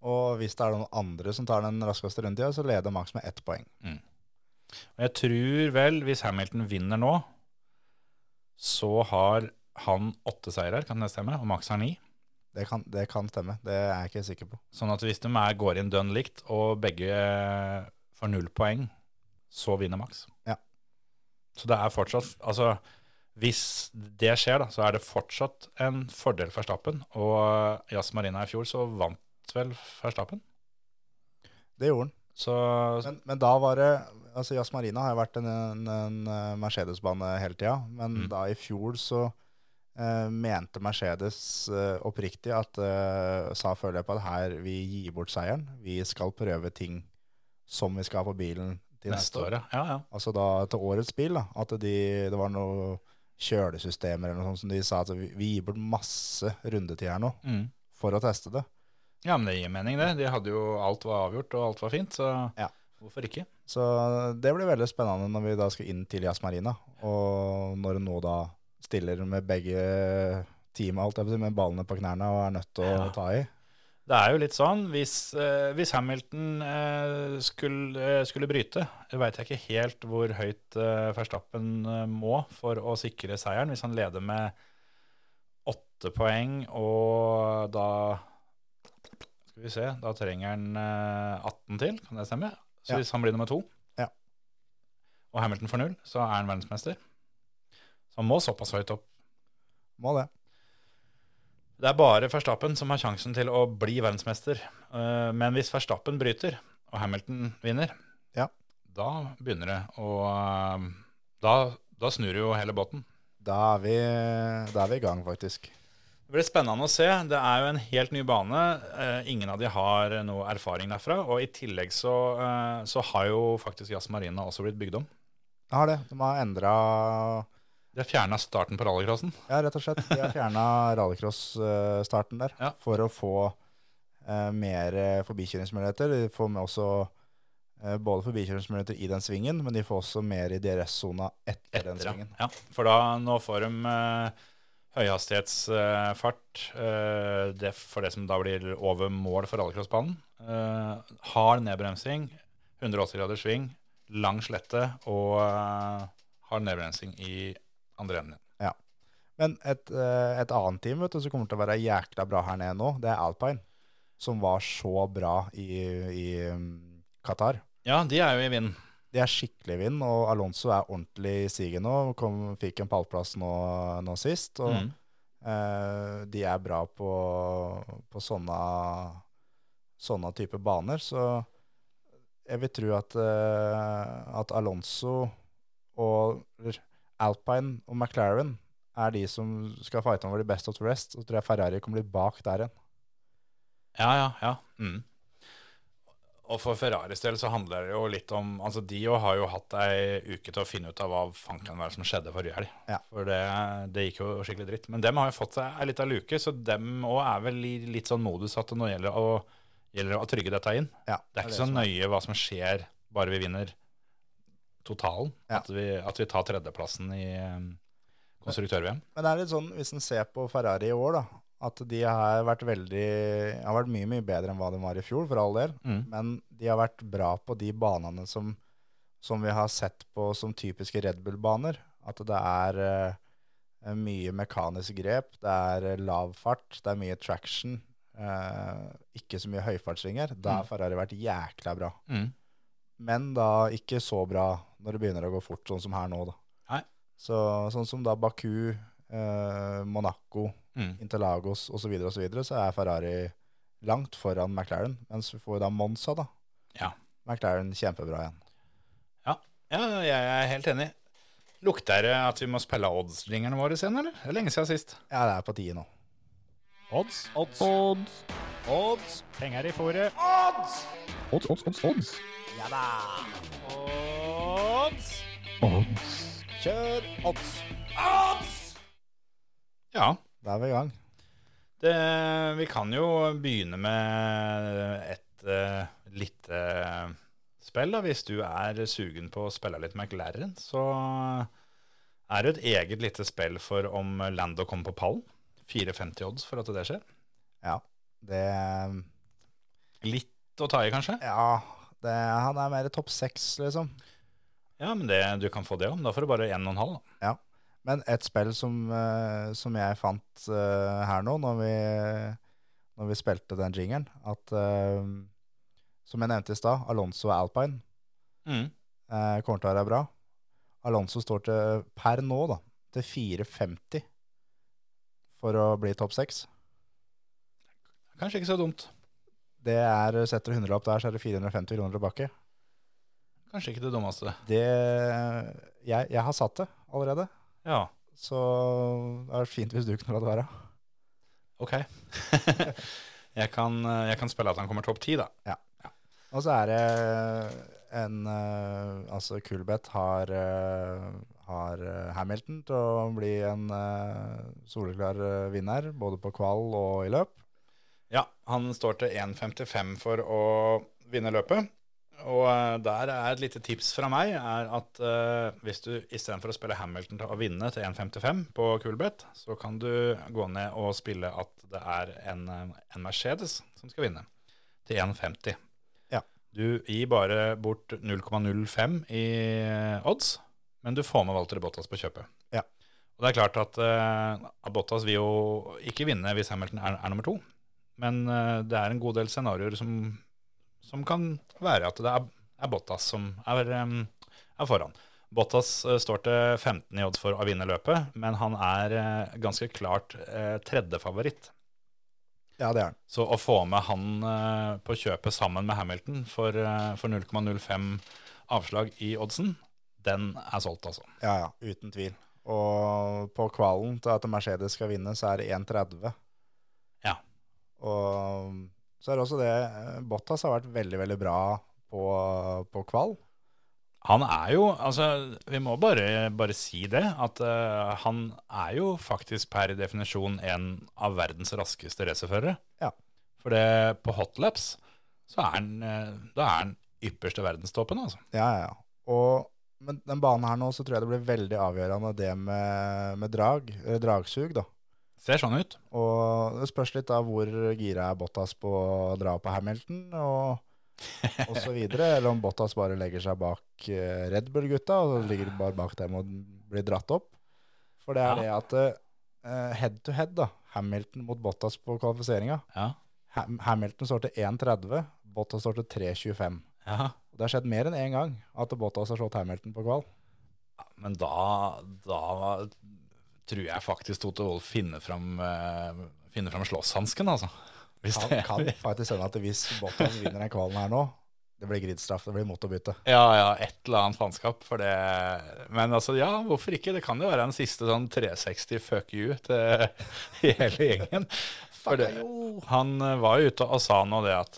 Og hvis det er noen andre som tar den raskeste rundetida, så leder Max med ett poeng. Og jeg tror vel, hvis Hamilton vinner nå, så har han åtte seirer, kan det stemme, og Max har ni. Det kan, det kan stemme. Det er jeg ikke sikker på. Sånn at hvis de er, går inn dønn likt, og begge får null poeng, så vinner Max. Ja. Så det er fortsatt Altså, hvis det skjer, da, så er det fortsatt en fordel for Stappen. Og Jazz Marina i fjor, så vant vel Verstappen. Det gjorde han. Så Men, men da var det Altså Jazz Marina har jo vært en, en, en eh, Mercedes-bane hele tida, men Mm. da i fjor så eh, mente Mercedes eh, oppriktig at eh, sa før løpet at her vi gir bort seieren. Vi skal prøve ting som vi skal ha på bilen til neste år, ja. ja. Altså da til årets bil, da. At de, det var noe kjølesystemer eller noe sånt som de sa at vi, vi gir bort masse rundetid her nå Ja. Mm. for å teste det. ja, men det gir mening, det. De hadde jo Alt var avgjort, og alt var fint, så Ja. hvorfor ikke? Så det blir veldig spennende når vi da skal inn til Jazz Marina, og når hun nå da stiller med begge teamet alt, jeg vil si, med ballene på knærne og er nødt til å ta i. Det er jo litt sånn, hvis, eh, hvis Hamilton eh, skulle, eh, skulle bryte, veit jeg ikke helt hvor høyt eh, Verstappen eh, må for å sikre seieren. Hvis han leder med åtte poeng, og da Skal vi se, da trenger han eh, 18 til, kan det stemme? Så Ja. hvis han blir nummer to, Ja. og Hamilton får null, så er han verdensmester. Så han må såpass høyt opp. Må det. Det er bare Verstappen som har sjansen til å bli verdensmester. Eh, Men hvis Verstappen bryter, og Hamilton vinner, Ja. da begynner det å eh, da, da snur jo hele båten. Da er vi, da er vi i gang, faktisk. Det blir spennende å se. Det er jo en helt ny bane. Eh, Ingen av de har noe erfaring derfra. Og i tillegg så, eh, så har jo faktisk Jazz Marina også blitt bygd om. Jeg har det. De har endra De har fjerna starten på rallycrossen. Ja, rett og slett. De har fjerna rallycross-starten der Ja. for å få eh, mer eh, forbikjøringsmuligheter. De får med også eh, både forbikjøringsmuligheter i den svingen, men de får også mer i DRS-sona etter, den Etter, ja. svingen. ja. For da nå får de eh, høyhastighetsfart eh, det, for det som da blir over mål for rallycrossbanen. Eh, hard nedbremsing, 180 grader sving, lang slette og eh, hard nedbremsing i andre enden. Men et, eh, et annet team vet du, som kommer til å være jækla bra her nede nå, det er Alpine. Som var så bra i, i um, Qatar. Ja, de er jo i vinden. De er skikkelig i vind, og Alonso er ordentlig i siget nå. Kom, fikk en pallplass nå, nå sist. Og Mm. eh, de er bra på, på sånne, sånne type baner. Så jeg vil tro at, eh, at Alonso og eller Alpine og McLaren er de som skal fighte over de best of the rest. Så tror jeg Ferrari kommer litt bak der igjen. Ja, ja, ja. Mm. Og for Ferraris del så handler det jo litt om Altså, de jo har jo hatt ei uke til å finne ut av hva fanken var det som skjedde forrige helg. Ja. For det, det gikk jo skikkelig dritt. Men dem har jo fått seg ei lita luke, så dem òg er vel i litt sånn modus at det nå gjelder å, gjelder å trygge dette inn. Ja, Det er ikke sånn så nøye hva som skjer, bare vi vinner totalen. Ja. At, vi, at vi tar tredjeplassen i eh, konstruktør-VM. Men det er litt sånn, hvis en ser på Ferrari i år, da, at de har vært veldig har vært mye, mye bedre enn hva de var i fjor, for all del. Mm. Men de har vært bra på de banene som, som vi har sett på som typiske Red Bull-baner. At det er eh, mye mekanisk grep, det er eh, lav fart, det er mye traction. eh, ikke så mye høyfartsvinger. Da har Ferrari vært jækla bra. Mm. Men da ikke så bra når det begynner å gå fort, sånn som her nå, da. Nei. Så, sånn som da Baku, eh, Monaco, Mm. Interlagos osv., så, videre, og så, videre, så er Ferrari langt foran McLaren. Mens vi får da Monza, da. Ja. McLaren kjempebra igjen. Ja, ja jeg er helt enig. Lukter det at vi må spille oddsringerne våre sen, eller? Det er lenge siden sist. Ja, det er på tide nå. Odds? Odds. Odds. Penger i fôret. Odds! Kjør odds! Ja. Da er vi i gang. Det, vi kan jo begynne med et eh, lite spill. Da. Hvis du er sugen på å spille litt McLaren, så er det et eget lite spill for om Lando kommer på pallen. 4,50 odds for at det skjer. Ja. Det Litt å ta i, kanskje? Ja. Det, han er mer topp seks, liksom. Ja, men det, du kan få det om. Da får du bare 1,5. da. Ja. Men et spill som, eh, som jeg fant eh, her nå, når vi, når vi spilte den jingeren, at eh, som jeg nevnte i stad, Alonso og Alpine Mm. eh, kommer til å være bra. Alonso står til, per nå da, til 4,50 for å bli topp seks. Kanskje ikke så dumt. Det er, setter du hundrelapp der, så er det 450 kroner tilbake. Kanskje ikke det dummeste. Det, jeg, jeg har satt det allerede, Ja, så det hadde vært fint hvis du kunne la det være. ok. <laughs> jeg, kan, eh, jeg kan spille at han kommer topp ti, da. Og så er det en eh, Altså, Kulbeth har, eh, har eh, Hamilton til å bli en eh, soleklar eh, vinner, både på kval og i løp. Ja, han står til 1,55 for å vinne løpet. Og eh, der er et lite tips fra meg er at eh, hvis du istedenfor å spille Hamilton til å vinne til 1,55 på Kulbeth, så kan du gå ned og spille at det er en, eh, en Mercedes som skal vinne, til 1,50. Ja. Du gir bare bort 0,05 i eh, odds, men du får med Walter Bottas på kjøpet. Ja. Og det er klart at eh, Bottas vil jo ikke vinne hvis Hamilton er, er nummer to, men eh, det er en god del scenarioer som som kan være at det er, er Bottas som er, em, er foran. Bottas eh, står til 15 i odds for å vinne løpet, men han er eh, ganske klart eh, tredjefavoritt. Ja, det er han. Så å få med han eh, på kjøpet sammen med Hamilton for, eh, for 0,05 avslag i oddsen, den er solgt, altså. Ja, ja, uten tvil. Og på kvalen til at Mercedes skal vinne, så er det 1,30. Ja. Og så er det også det eh, Bottas har vært veldig, veldig bra på, på kval. Han er jo, altså vi må bare, bare si det, at eh, han er jo faktisk per definisjon en av verdens raskeste racerførere. Ja. For det, på hotlaps så er han, eh, da er han ypperste verdenstoppen, altså. Ja, ja, ja. Og men den banen her nå, så tror jeg det blir veldig avgjørende det med, med drag, eller dragsug, da. Ser sånn ut. Og det spørs litt da hvor gira er Bottas på å dra på Hamilton, og, og så videre. Eller om Bottas bare legger seg bak eh, Red Bull-gutta, og ligger bare bak dem og blir dratt opp. For det er det at eh, head to head, da. Hamilton mot Bottas på kvalifiseringa. Ja. Ham Hamilton står til 1,30, Bottas står til 3,25. ja. Og Det har skjedd mer enn én gang at Bottas har slått Hamilton på kval. Men da, da tror jeg faktisk Toto Wolff finner fram, eh, finner fram slåsshansken, altså. Hvis Han <laughs> det- kan faktisk hende at hvis Bottas vinner den kvalen her nå, det blir gridstraff, det blir motorbytte. Ja, ja, et eller annet faenskap. For det Men altså, ja, hvorfor ikke? Det kan jo være en siste sånn 360 fuck you til <laughs> hele gjengen. For det, han eh, var jo ute og sa nå det at,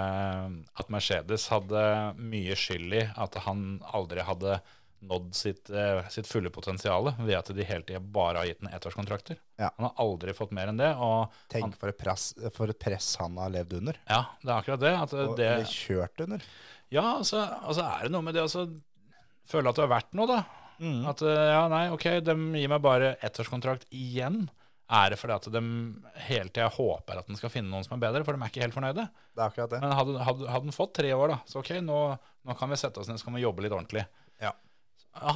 eh, at Mercedes hadde mye skyld i at han aldri hadde nådd sitt, eh, sitt fulle potensial ved at de hele tida bare har gitt ham ettårskontrakter. Ja. Han har aldri fått mer enn det. Og han, Tenk for et, press, for et press han har levd under. ja, det er akkurat det. At eh, Og det eller kjørt under. Ja, altså, altså er det noe med det å altså, føle at du er verdt noe, da. At eh, ja, nei, ok, de gir meg bare ettårskontrakt igjen. Er det fordi at de hele tida håper at den skal finne noen som er bedre, for de er ikke helt fornøyde? Det er akkurat det. Men hadde, hadde, hadde den fått tre år, da, så ok, nå, nå kan vi sette oss ned så kan vi jobbe litt ordentlig. Ja.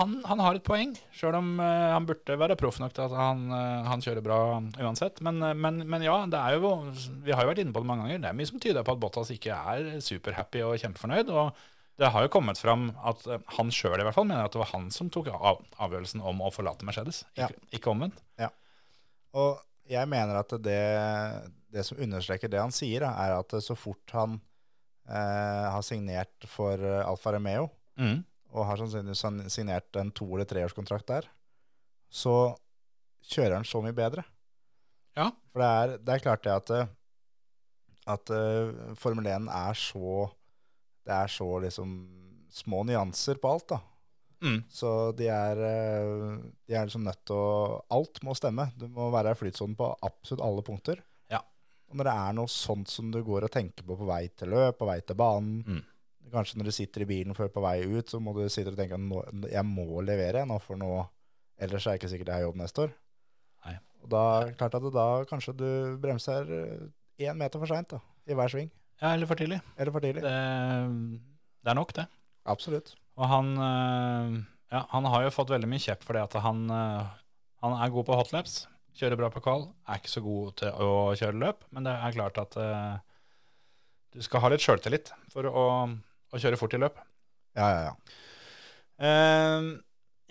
Han, han har et poeng, sjøl om eh, han burde være proff nok til at han, eh, han kjører bra uansett. Men, eh, men, men ja, det er jo, vi har jo vært inne på det mange ganger. Det er mye som tyder på at Bottas ikke er superhappy og kjempefornøyd. Og det har jo kommet fram at eh, han sjøl i hvert fall mener at det var han som tok av, avgjørelsen om å forlate Mercedes, Ja. ikke, ikke omvendt. Og jeg mener at det, det som understreker det han sier, da, er at så fort han eh, har signert for eh, Alfa Romeo, Mm. og har sannsynligvis han signert en to- eller treårskontrakt der, så kjører han så mye bedre. Ja. For det er, det er klart det at, eh, at eh, Formel 1 er så Det er så liksom små nyanser på alt, da. Mm. Så de er, eh, de er liksom nødt til å Alt må stemme. Du må være i flytsonen på absolutt alle punkter. Ja. Og når det er noe sånt som du går og tenker på på vei til løp, på vei til banen Mm. Kanskje når du sitter i bilen før på vei ut, så må du sitte og tenke at nå, jeg må levere nå for nå, ellers er det ikke sikkert jeg har jobb neste år. Nei. Og da er det klart at da kanskje du bremser eh, én meter for seint i hver sving. Ja, eller for tidlig. Eller for tidlig. Det, det er nok, det. Absolutt. Og han, øh, ja, han har jo fått veldig mye kjepp for det at han, øh, han er god på hotlaps, kjører bra på kval, er ikke så god til å kjøre løp, men det er klart at øh, du skal ha litt sjøltillit for å, å kjøre fort i løp. Ja, ja, ja. Eh,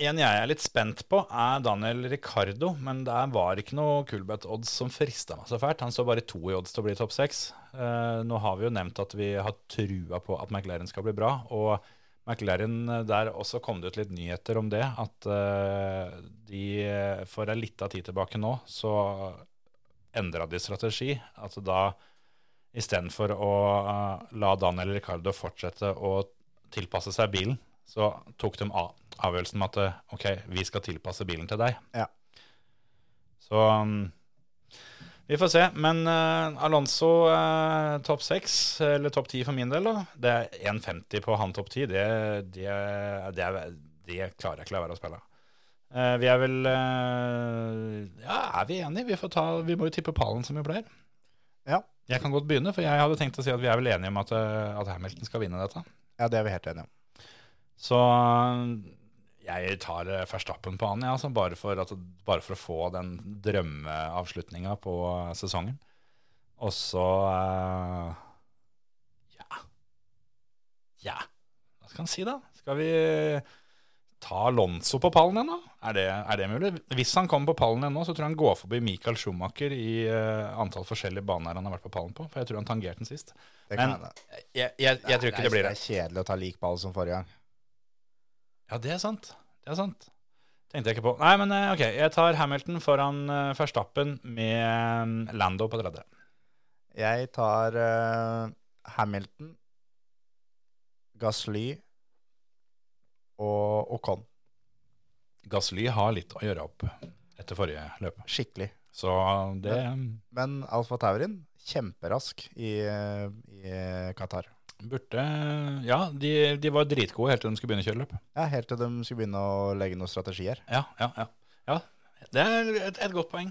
en jeg er litt spent på, er Daniel Ricardo, men der var ikke noe Kulbeth-odds som frista meg så fælt. Han står bare to i odds til å bli topp seks. Eh, nå har vi jo nevnt at vi har trua på at McLaren skal bli bra, og McLaren eh, der også kom det ut litt nyheter om det, at eh, de eh, for ei lita tid tilbake nå, så endra de strategi. At da istedenfor å eh, la Daniel Ricardo fortsette å tilpasse seg bilen, så tok de av, avgjørelsen med at eh, ok, vi skal tilpasse bilen til deg. Ja. Så um, mm, vi Vi får se. Men eh, Alonso eh, topp seks, eller topp ti for min del, da. Det er 1,50 på han topp ti. Det, det, det, er- det klarer jeg ikke la være å spille. Eh, vi er vel eh, Ja, er vi enige? Vi, får ta, vi må jo tippe pallen som vi pleier. Ja. Jeg kan godt begynne, for jeg hadde tenkt å si at vi er vel enige om at, eh, at Hamilton skal vinne dette. Ja, det er vi helt enige om. Så jeg tar eh, Verstappen på han, ja, altså, bare, for at, bare for å få den drømmeavslutninga på eh, sesongen. Og så eh, Ja. Ja. Hva skal en si, da? Skal vi ta Alonso på pallen ennå? Er det, er det mulig? Hvis han kommer på pallen ennå, så tror jeg han går forbi Michael Schumacher i eh, antall forskjellige baner han har vært på pallen på. For jeg tror han tangerte den sist. Det kan Men- hende. Jeg, jeg, jeg tror ikke det blir det. Det er kjedelig å ta lik ball som forrige gang. Ja, det er sant. Det er sant. Tenkte jeg ikke på. Nei, men eh, ok, jeg tar Hamilton foran eh, Verstappen med eh, Lando på tredje. Jeg tar eh, Hamilton, Gasly og Ocon. Gasly har litt å gjøre opp etter forrige løp. Skikkelig. Så det Men Alfa Taurin, kjemperask i, eh, i Qatar. burde Ja, de, de var dritgode helt til de skulle begynne å kjøre løp. Ja, helt til de skulle begynne å legge noen strategier. Ja, ja, ja. ja det er et, et godt poeng.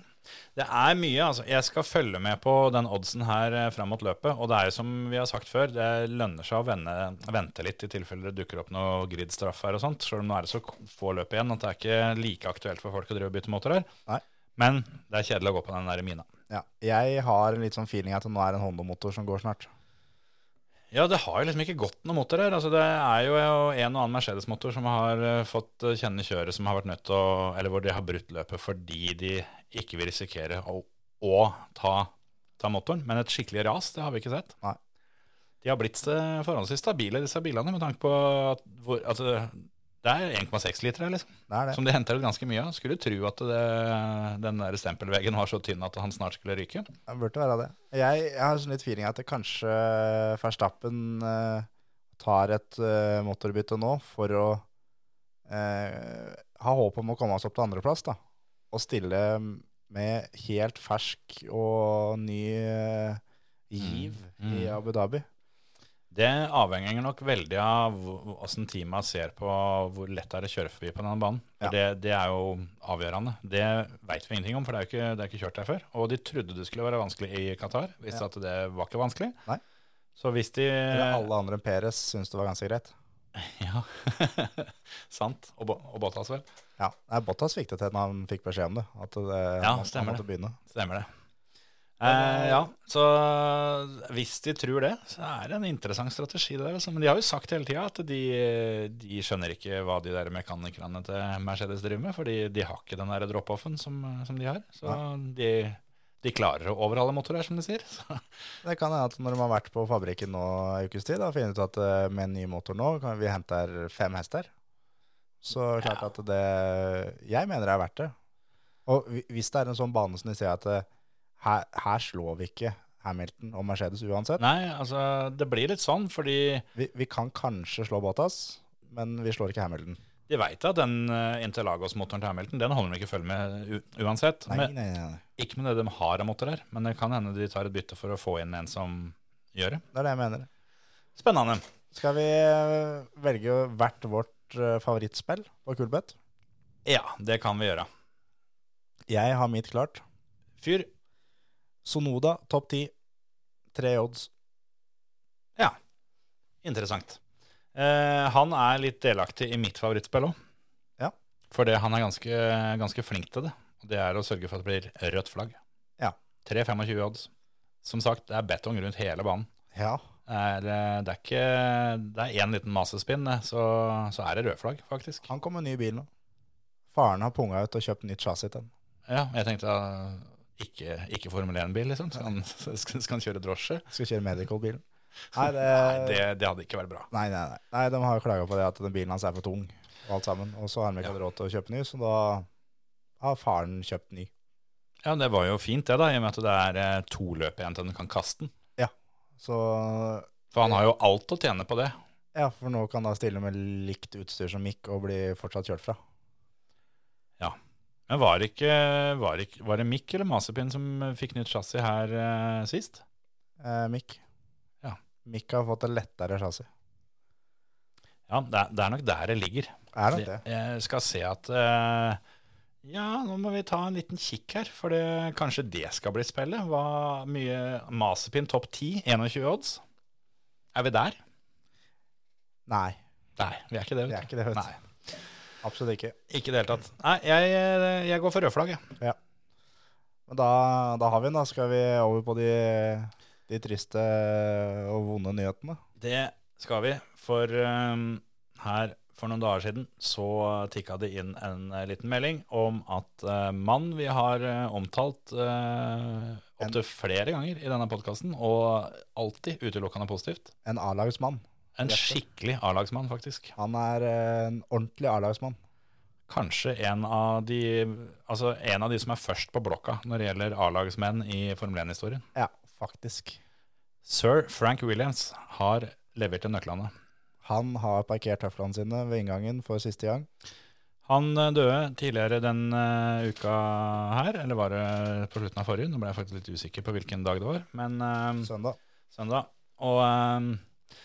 Det er mye, altså. Jeg skal følge med på den oddsen her eh, fram mot løpet. Og det er jo som vi har sagt før, det lønner seg å vende, vente litt i tilfelle det dukker opp noe gridstraff her og sånt. Selv om nå er det så k- få løp igjen at det er ikke like aktuelt for folk å drive og bytte motor her. Nei. Men det er kjedelig å gå på den der mina. Ja. Jeg har en litt sånn feeling at det nå er en Honda-motor som går snart. Ja, det har jo liksom ikke gått noen motor her. Altså, det er jo en og annen Mercedes-motor som har eh, fått eh, kjenne kjøret som har vært nødt til å Eller hvor de har brutt løpet fordi de ikke vil risikere å, å ta, ta motoren. Men et skikkelig ras, det har vi ikke sett. Nei. De har blitt eh, forholdsvis stabile, disse bilene, med tanke på at hvor, altså, det er 1,6 liter her, liksom. Det er det. Som de henter ut ganske mye av. Skulle tro at det, den der stempelveggen var så tynn at han snart skulle ryke. Det burde være det. Jeg, jeg har sånn litt feeling at det kanskje Verstappen eh, tar et eh, motorbytte nå for å eh, ha håp om å komme oss opp til andreplass, da. Og stille med helt fersk og ny eh, Mm, giv i Abu Dhabi. Det avhenger nok veldig av åssen teama ser på hvor lett det er å kjøre forbi på denne banen. For det, det er jo avgjørende. Det veit vi ingenting om, for det er jo ikke, det er ikke kjørt der før. Og de trodde det skulle være vanskelig i Qatar, visste at det var ikke vanskelig. Nei. Så hvis de Eller alle andre enn Peres syns det var ganske greit. <laughs> Ja, <laughs> sant. Og, Bo- og Bottas, vel. Ja, Nei, Bottas fikk det til når han fikk beskjed om det. At det, Ja, han, han stemmer måtte begynne. Stemmer det. Eh, ja, så eh, hvis de tror det, så er det en interessant strategi. det der. altså. Men de har jo sagt hele tida at de, de skjønner ikke hva de der mekanikerne til Mercedes driver med, fordi de har ikke den der drop-offen som, som de har. Så de, de klarer å overhale motorer, som de sier. <laughs> Så, Det kan hende at når de har vært på fabrikken nå en ukes tid, da, og finner ut at eh, med en ny motor nå, kan vi henter fem hester. Så klart at det Jeg mener det er verdt det. Og hvi- hvis det er en sånn bane som de sier at eh, her, her slår vi ikke Hamilton og Mercedes uansett. nei, altså, det blir litt sånn, fordi Vi, vi kan kanskje slå Bottas, men vi slår ikke Hamilton. de veit at den eh, Interlagos-motoren til Hamilton, den holder de ikke følge med u uansett. Nei, Men, nei, nei, nei. ikke med det de har av motorer, men det kan hende de tar et bytte for å få inn en som gjør det. Det er det jeg mener. Spennende. Skal vi eh, velge hvert vårt eh, favorittspill på Kulbeth? Ja, det kan vi gjøre. Jeg har mitt klart. Fyr. Sonoda topp ti. Tre odds. Ja. Interessant. Eh, han er litt delaktig i mitt favorittspill òg. Ja. For det, han er ganske, ganske flink til det. Og det er å sørge for at det blir rødt flagg. Ja. 3,25 odds. Som sagt, det er betong rundt hele banen. Ja, Det er, eh, det er ikke Det er én liten masespinn, det, så, så er det rød flagg, faktisk. Han kom med ny bil nå. Faren har punga ut og kjøpt nytt chassis til den. Ja, jeg tenkte eh, ikke, ikke Formel 1-bil, liksom. Skal han, <laughs> skal skal han kjøre drosje? Skal kjøre medical-bilen. Nei, <laughs> det... Nei, det, det hadde ikke vært bra. nei, nei, nei. nei, de har jo klaga på det at den bilen hans er for tung og alt sammen. Og så har de ikke hatt råd til å kjøpe ny, så da har faren kjøpt ny. Ja, det var jo fint det, da, i og med at det er eh, to løp igjen til den kan kaste den. Så For han har jo alt å tjene på det. ja, for nå kan da stille med likt utstyr som Mick og bli fortsatt kjørt fra. Ja. Men var det, ikke, var, det ikke, var det Mick eller Masepin som fikk nytt chassis her eh, sist? Eh, Mick. Ja. Mick har fått et lettere chassis. Ja, det er, det er nok der det ligger. Er det det? Jeg skal se at eh, Ja, nå må vi ta en liten kikk her, for det, kanskje det skal bli spillet. Hva mye Masepin topp 10, 21 odds. Er vi der? Nei, Nei, vi er ikke det. Vi er ikke det, vet du. Nei, absolutt ikke. ikke i det hele tatt. Nei, jeg, eh, jeg går for rødflagg, jeg. Men da, da har vi den, da. Skal vi over på de, de triste og vonde nyhetene? Det skal vi, for ehm, her for noen dager siden så tikka det inn en eh, liten melding om at eh, mann vi har eh, omtalt uh, opptil flere ganger i denne podkasten, og alltid utelukkende positivt En A-lagsmann. En Rett og slett. skikkelig A-lagsmann, faktisk. Han er eh, en ordentlig A-lagsmann. Kanskje en av de Altså en av de som er først på blokka når det gjelder A-lagsmenn i Formel 1-historien. Ja, faktisk. Sir Frank Williams har levert til nøklene. Han har parkert tøflene sine ved inngangen for siste gang. Han eh, døde tidligere den eh, uka her, eller var det på slutten av forrige? Nå ble jeg faktisk litt usikker på hvilken dag det var, men eh, Søndag. søndag. Og, eh,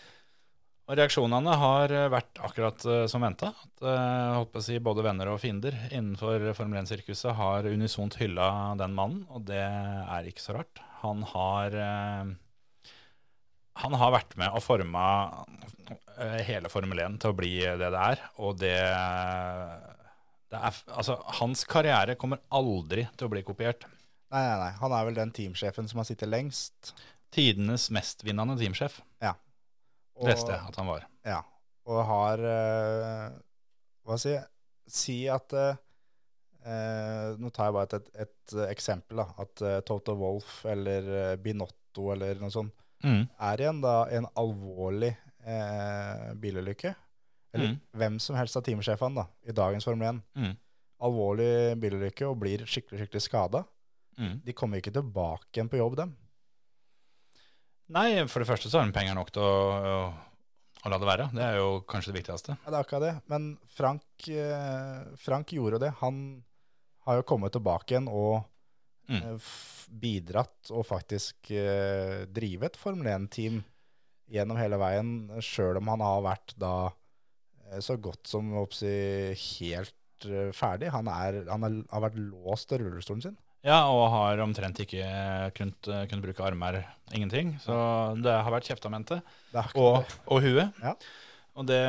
og reaksjonene har eh, vært akkurat eh, som venta. At eh, holdt på å si, både venner og fiender innenfor Formel 1-sirkuset har unisont hylla den mannen, og det er ikke så rart. Han har eh, han har vært med og forma eh, hele Formel 1 til å bli det det er. Og det, det er Altså, hans karriere kommer aldri til å bli kopiert. Nei, nei, nei. Han er vel den teamsjefen som har sittet lengst. Tidenes mestvinnende teamsjef, Og, leste jeg at han var. Ja. Og har eh, Hva si Si at eh, eh, Nå tar jeg bare et, et, et eksempel. da, At eh, Toto Wolff eller eh, Binotto eller noe sånt Mm. er igjen da en alvorlig eh, bilulykke. Mm. Eller hvem som helst av teamsjefene da, i dagens Formel 1. Mm. Alvorlig bilulykke og blir skikkelig skikkelig skada. Mm. De kommer ikke tilbake igjen på jobb, dem. Nei, for det første så har de penger nok til å, å, å la det være. Det er jo kanskje det viktigste. Ja, det er akkurat det. Men Frank, eh, Frank gjorde det. Han har jo kommet tilbake igjen og Mm. eh, f bidratt og faktisk eh, drive et Formel 1-team gjennom hele veien, sjøl om han har vært da eh, så godt som oppsi, helt eh, ferdig. Han, er, han er, har vært låst til rullestolen sin. Ja, og har omtrent ikke kunnet, kunnet bruke armer. Ingenting. Så det har vært kjeftamente. Det er akkurat Og, og huet. Ja. Og det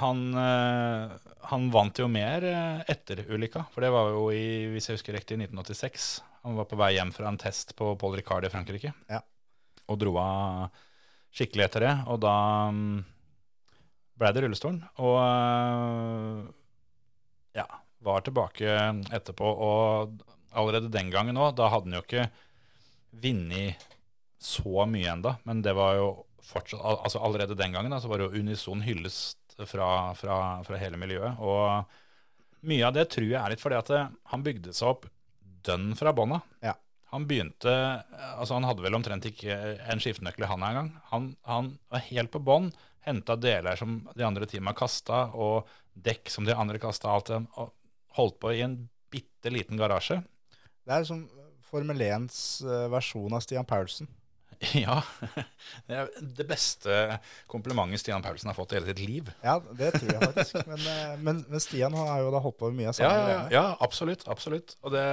han, eh, han vant jo mer eh, etter ulykka, for det var jo i, hvis jeg husker riktig, i 1986. Han var på vei hjem fra en test på Paul Ricard i Frankrike. Ja. Og dro av skikkelig etter det, og da mm, ble det rullestolen. Og eh, ja, var tilbake etterpå, og allerede den gangen òg, da hadde han jo ikke vunnet så mye enda, men det var jo fortsatt, al- altså allerede den gangen da, så var det jo unison hyllest fra, fra, fra hele miljøet, og mye av det tror jeg er litt fordi at eh, han bygde seg opp dønn fra bånda. Ja. Han begynte, eh, altså han hadde vel omtrent ikke eh, en skiftenøkkel i handa engang. Han, han var helt på bånn, hentet deler som de andre teamene kastet, og dekk som de andre kastet, alt det, og holdt på i en bitte liten garasje. Det er som Formel 1s eh, versjon av Stian Paulsen. <laughs> Ja, det er det beste komplimentet Stian Paulsen har fått i hele sitt liv. Ja, det tror jeg faktisk. Men, eh, men, men Stian han har jo da holdt på med mye av Ja, samme ja, ja, greiene. ja, absolutt, absolutt. Og det...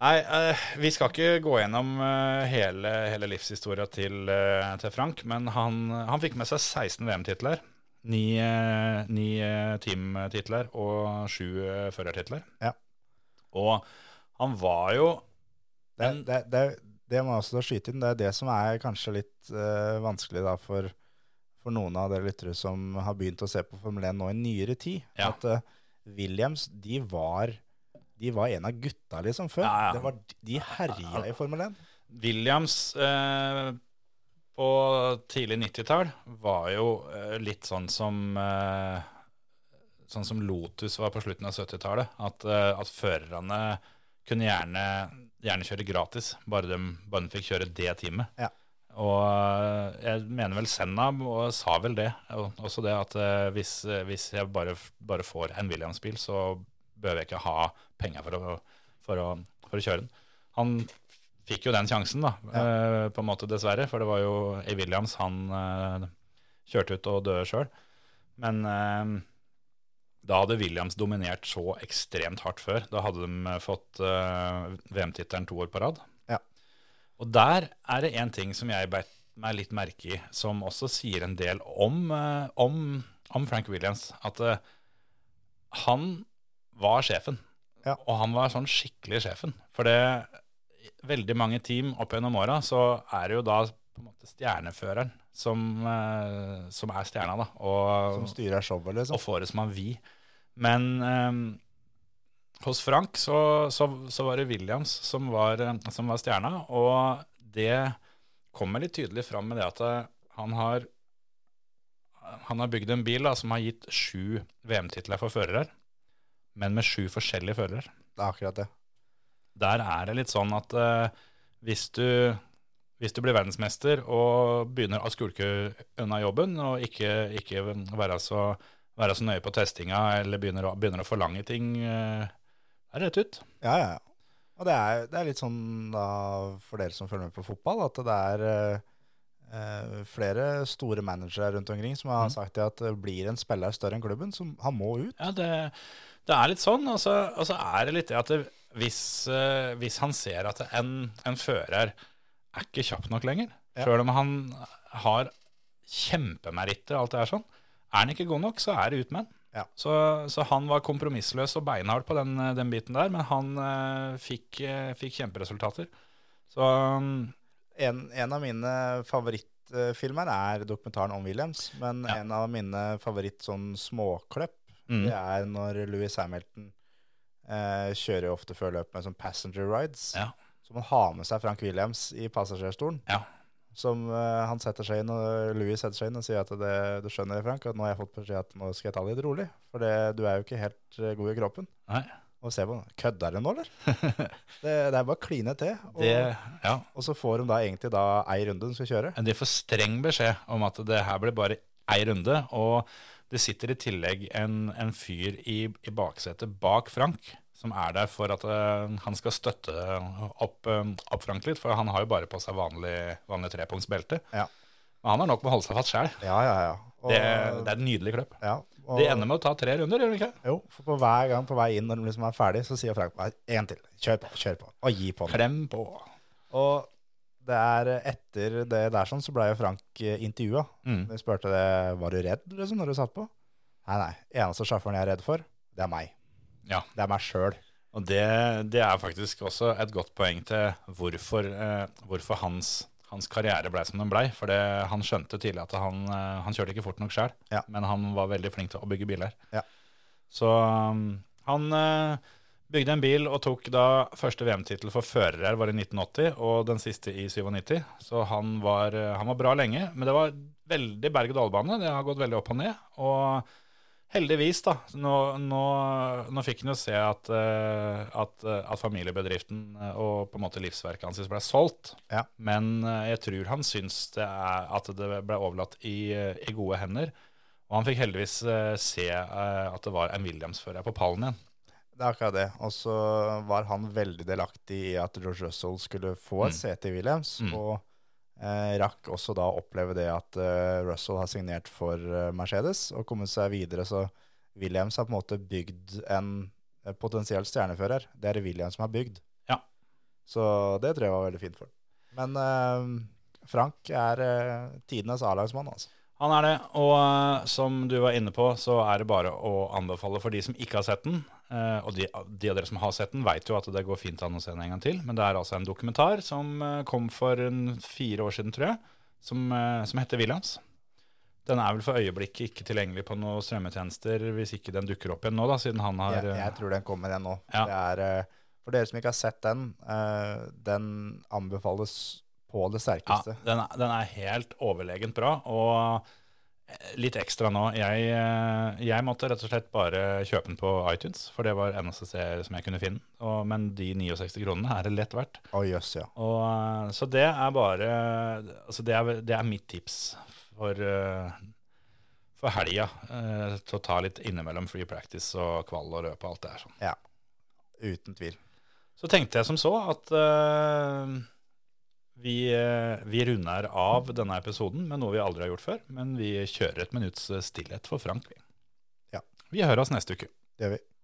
Nei, eh, vi skal ikke gå gjennom eh, hele, hele livshistoria til, eh, til Frank, men han, han fikk med seg 16 VM-titler, 9, ni eh, team-titler og 7 førertitler. Ja. Og han var jo Det, Men- det, det, det må jeg også da skyte inn. Det er det som er kanskje litt eh, vanskelig da for, for noen av dere lyttere som har begynt å se på Formel 1 nå i nyere tid. Ja. At eh, Williams, de var, de var en av gutta liksom før. Ja, ja. Det var, de herja i Formel 1. Williams eh, på tidlig 90-tall var jo eh, litt sånn som eh, Sånn som Lotus var på slutten av 70-tallet. At, eh, at førerne kunne gjerne, gjerne kjøre gratis, bare de, bare de fikk kjøre det teamet. Ja. Og eh, jeg mener vel Senna og sa vel det. Og, også det at eh, hvis, eh, hvis jeg bare, f- bare får en Williams-bil, så behøver jeg ikke ha penger for å, for å, for å kjøre den. Han fikk jo den sjansen, da, eh, på en måte, dessverre. For det var jo i Williams han eh, kjørte ut og døde sjøl. Men eh, da hadde Williams dominert så ekstremt hardt før. Da hadde de fått eh, VM-tittelen to år på rad. Ja. Og der er det en ting som jeg beit meg litt merke i, som også sier en del om, eh, om, om Frank Williams. At eh, han var sjefen. Ja. Og han var sånn skikkelig sjefen. For det veldig mange team opp gjennom åra, så er det jo da på en måte stjerneføreren som, eh, som er stjerna, da. Og, Som styrer showet, og liksom. får det som han vil. Men ehm, hos Frank så, så, så var det Williams som var, eh, som var stjerna, og det kommer litt tydelig fram med det at eh, han har, han har bygd en bil da, som har gitt sju VM-titler for førere, men med sju forskjellige førere Det er akkurat det. der er det litt sånn at eh, hvis, du, hvis du blir verdensmester og begynner å skulke unna jobben, og ikke, ikke være, så, være så nøye på testinga, eller begynner å, begynner å forlange ting, eh, det er rett ut. Ja, ja, ja. Og det er, det er litt sånn da, for dere som følger med på fotball, at det er eh, eh, flere store managere rundt omkring som Mm. har sagt det at eh, blir en spiller større enn klubben, så han må ut. Ja, det, det er litt sånn, og så, og så er det litt det at det, hvis, eh, hvis han ser at en, en fører er ikke kjapp nok lenger, Ja. selv om han har kjempemeritter og alt det her sånn, er han ikke god nok, så er det ut med han. Ja. Så, så han var kompromissløs og beinhard på den, den biten der, men han eh, fikk, eh, fikk kjemperesultater. Så mm, En, en av mine favorittfilmer er dokumentaren om Williams, men Ja. Mm. en av mine favoritt sånn småkløpp, det er når Louis Hamilton eh, kjører jo ofte før løpet med sånn passenger rides, ja, så man har med seg Frank Williams i passasjerstolen. ja, som eh, han setter seg inn, og Louis setter seg inn og sier at det, du skjønner det, Frank, at nå har jeg fått beskjed at nå skal jeg ta det litt rolig, for det, du er jo ikke helt eh, god i kroppen. nei, Og se på han, kødder du nå, <laughs> eller? det, det er bare å kline til, og, det, ja. og så får de da egentlig da ei runde de skal kjøre. De får streng beskjed om at det her blir bare ei runde, og det sitter i tillegg en, en fyr i, i baksetet bak Frank, som er der for at eh, han skal støtte opp, eh, opp Frank litt, for han har jo bare på seg vanlig, vanlig trepunktsbelte. Ja. Men han har nok med å holde seg fast sjæl. Ja, ja, ja. Og, Det, er- det er et nydelig kløpp. ja, og, De ender med å ta tre runder, gjør de ikke? Jo, for på hver gang på vei inn når de liksom er ferdig, så sier Frank bare en til, kjør på, kjør på, og gi på den. Klem på. Og det er eh, etter det der sånn, så ble jo Frank eh, intervjua. Mm. Jeg spurte det, var du redd liksom, når du satt på? Nei, nei. Eneste sjåføren jeg er redd for, det er meg. Ja. Det er meg sjøl. Og det, det er faktisk også et godt poeng til hvorfor, eh, hvorfor hans, hans karriere blei som den blei. For det, han skjønte tidlig at han, eh, han kjørte ikke fort nok sjøl, Ja. men han var veldig flink til å bygge biler. Ja. Så um, han eh, bygde en bil og tok da første VM-tittel for førere var i 1980, og den siste i 97. Så han var, eh, han var bra lenge, men det var veldig berg-og-dal-bane. Det har gått veldig opp og ned. og... Heldigvis, da. Nå, nå, nå fikk han jo se at, eh, at, eh, at familiebedriften eh, og på en måte livsverket hans ble solgt. Ja. Men eh, jeg tror han syns det er, at det ble overlatt i, eh, i gode hender. Og han fikk heldigvis eh, se eh, at det var en Williams-fører på pallen igjen. Det er akkurat det. Og så var han veldig delaktig i at George Russell skulle få et sete i Williams, Mm. og eh, rakk også da oppleve det at eh, Russell har signert for eh, Mercedes og kommet seg videre. Så Williams har på en måte bygd en eh, potensiell stjernefører. Det er det Williams som har bygd. Ja. Så det tror jeg var veldig fint for ham. Men eh, Frank er eh, tidenes A-lagsmann, altså. Han er det, og eh, som du var inne på, så er det bare å anbefale for de som ikke har sett den. eh, og de, de av dere som har sett den, vet jo at det går fint an å se den en gang til. Men det er altså en dokumentar som eh, kom for en fire år siden, tror jeg, som, eh, som heter Williams. Den er vel for øyeblikket ikke tilgjengelig på noen strømmetjenester, hvis ikke den dukker opp igjen nå, da, siden han har eh, Jeg, jeg tror den kommer igjen nå. Ja. Det er, eh, for dere som ikke har sett den, eh, den anbefales på det sterkeste. Ja, den er, den er helt overlegent bra, og litt ekstra nå. Jeg, eh, jeg måtte rett og slett bare kjøpe den på iTunes, for det var eneste sted som jeg kunne finne. Og, men de 69 kronene er det lett verdt. Å jøss, ja. Og, eh, så det er bare altså det, er, det er mitt tips for, eh, for helga eh, til å ta litt innimellom free practice og kvall og løp og alt det der. Sånn. Ja, uten tvil. Så tenkte jeg som så at eh, vi, eh, vi runder av denne episoden med noe vi aldri har gjort før, men vi kjører et minutts eh, stillhet for Frank. vi. Ja. Vi høres neste uke. Det gjør vi.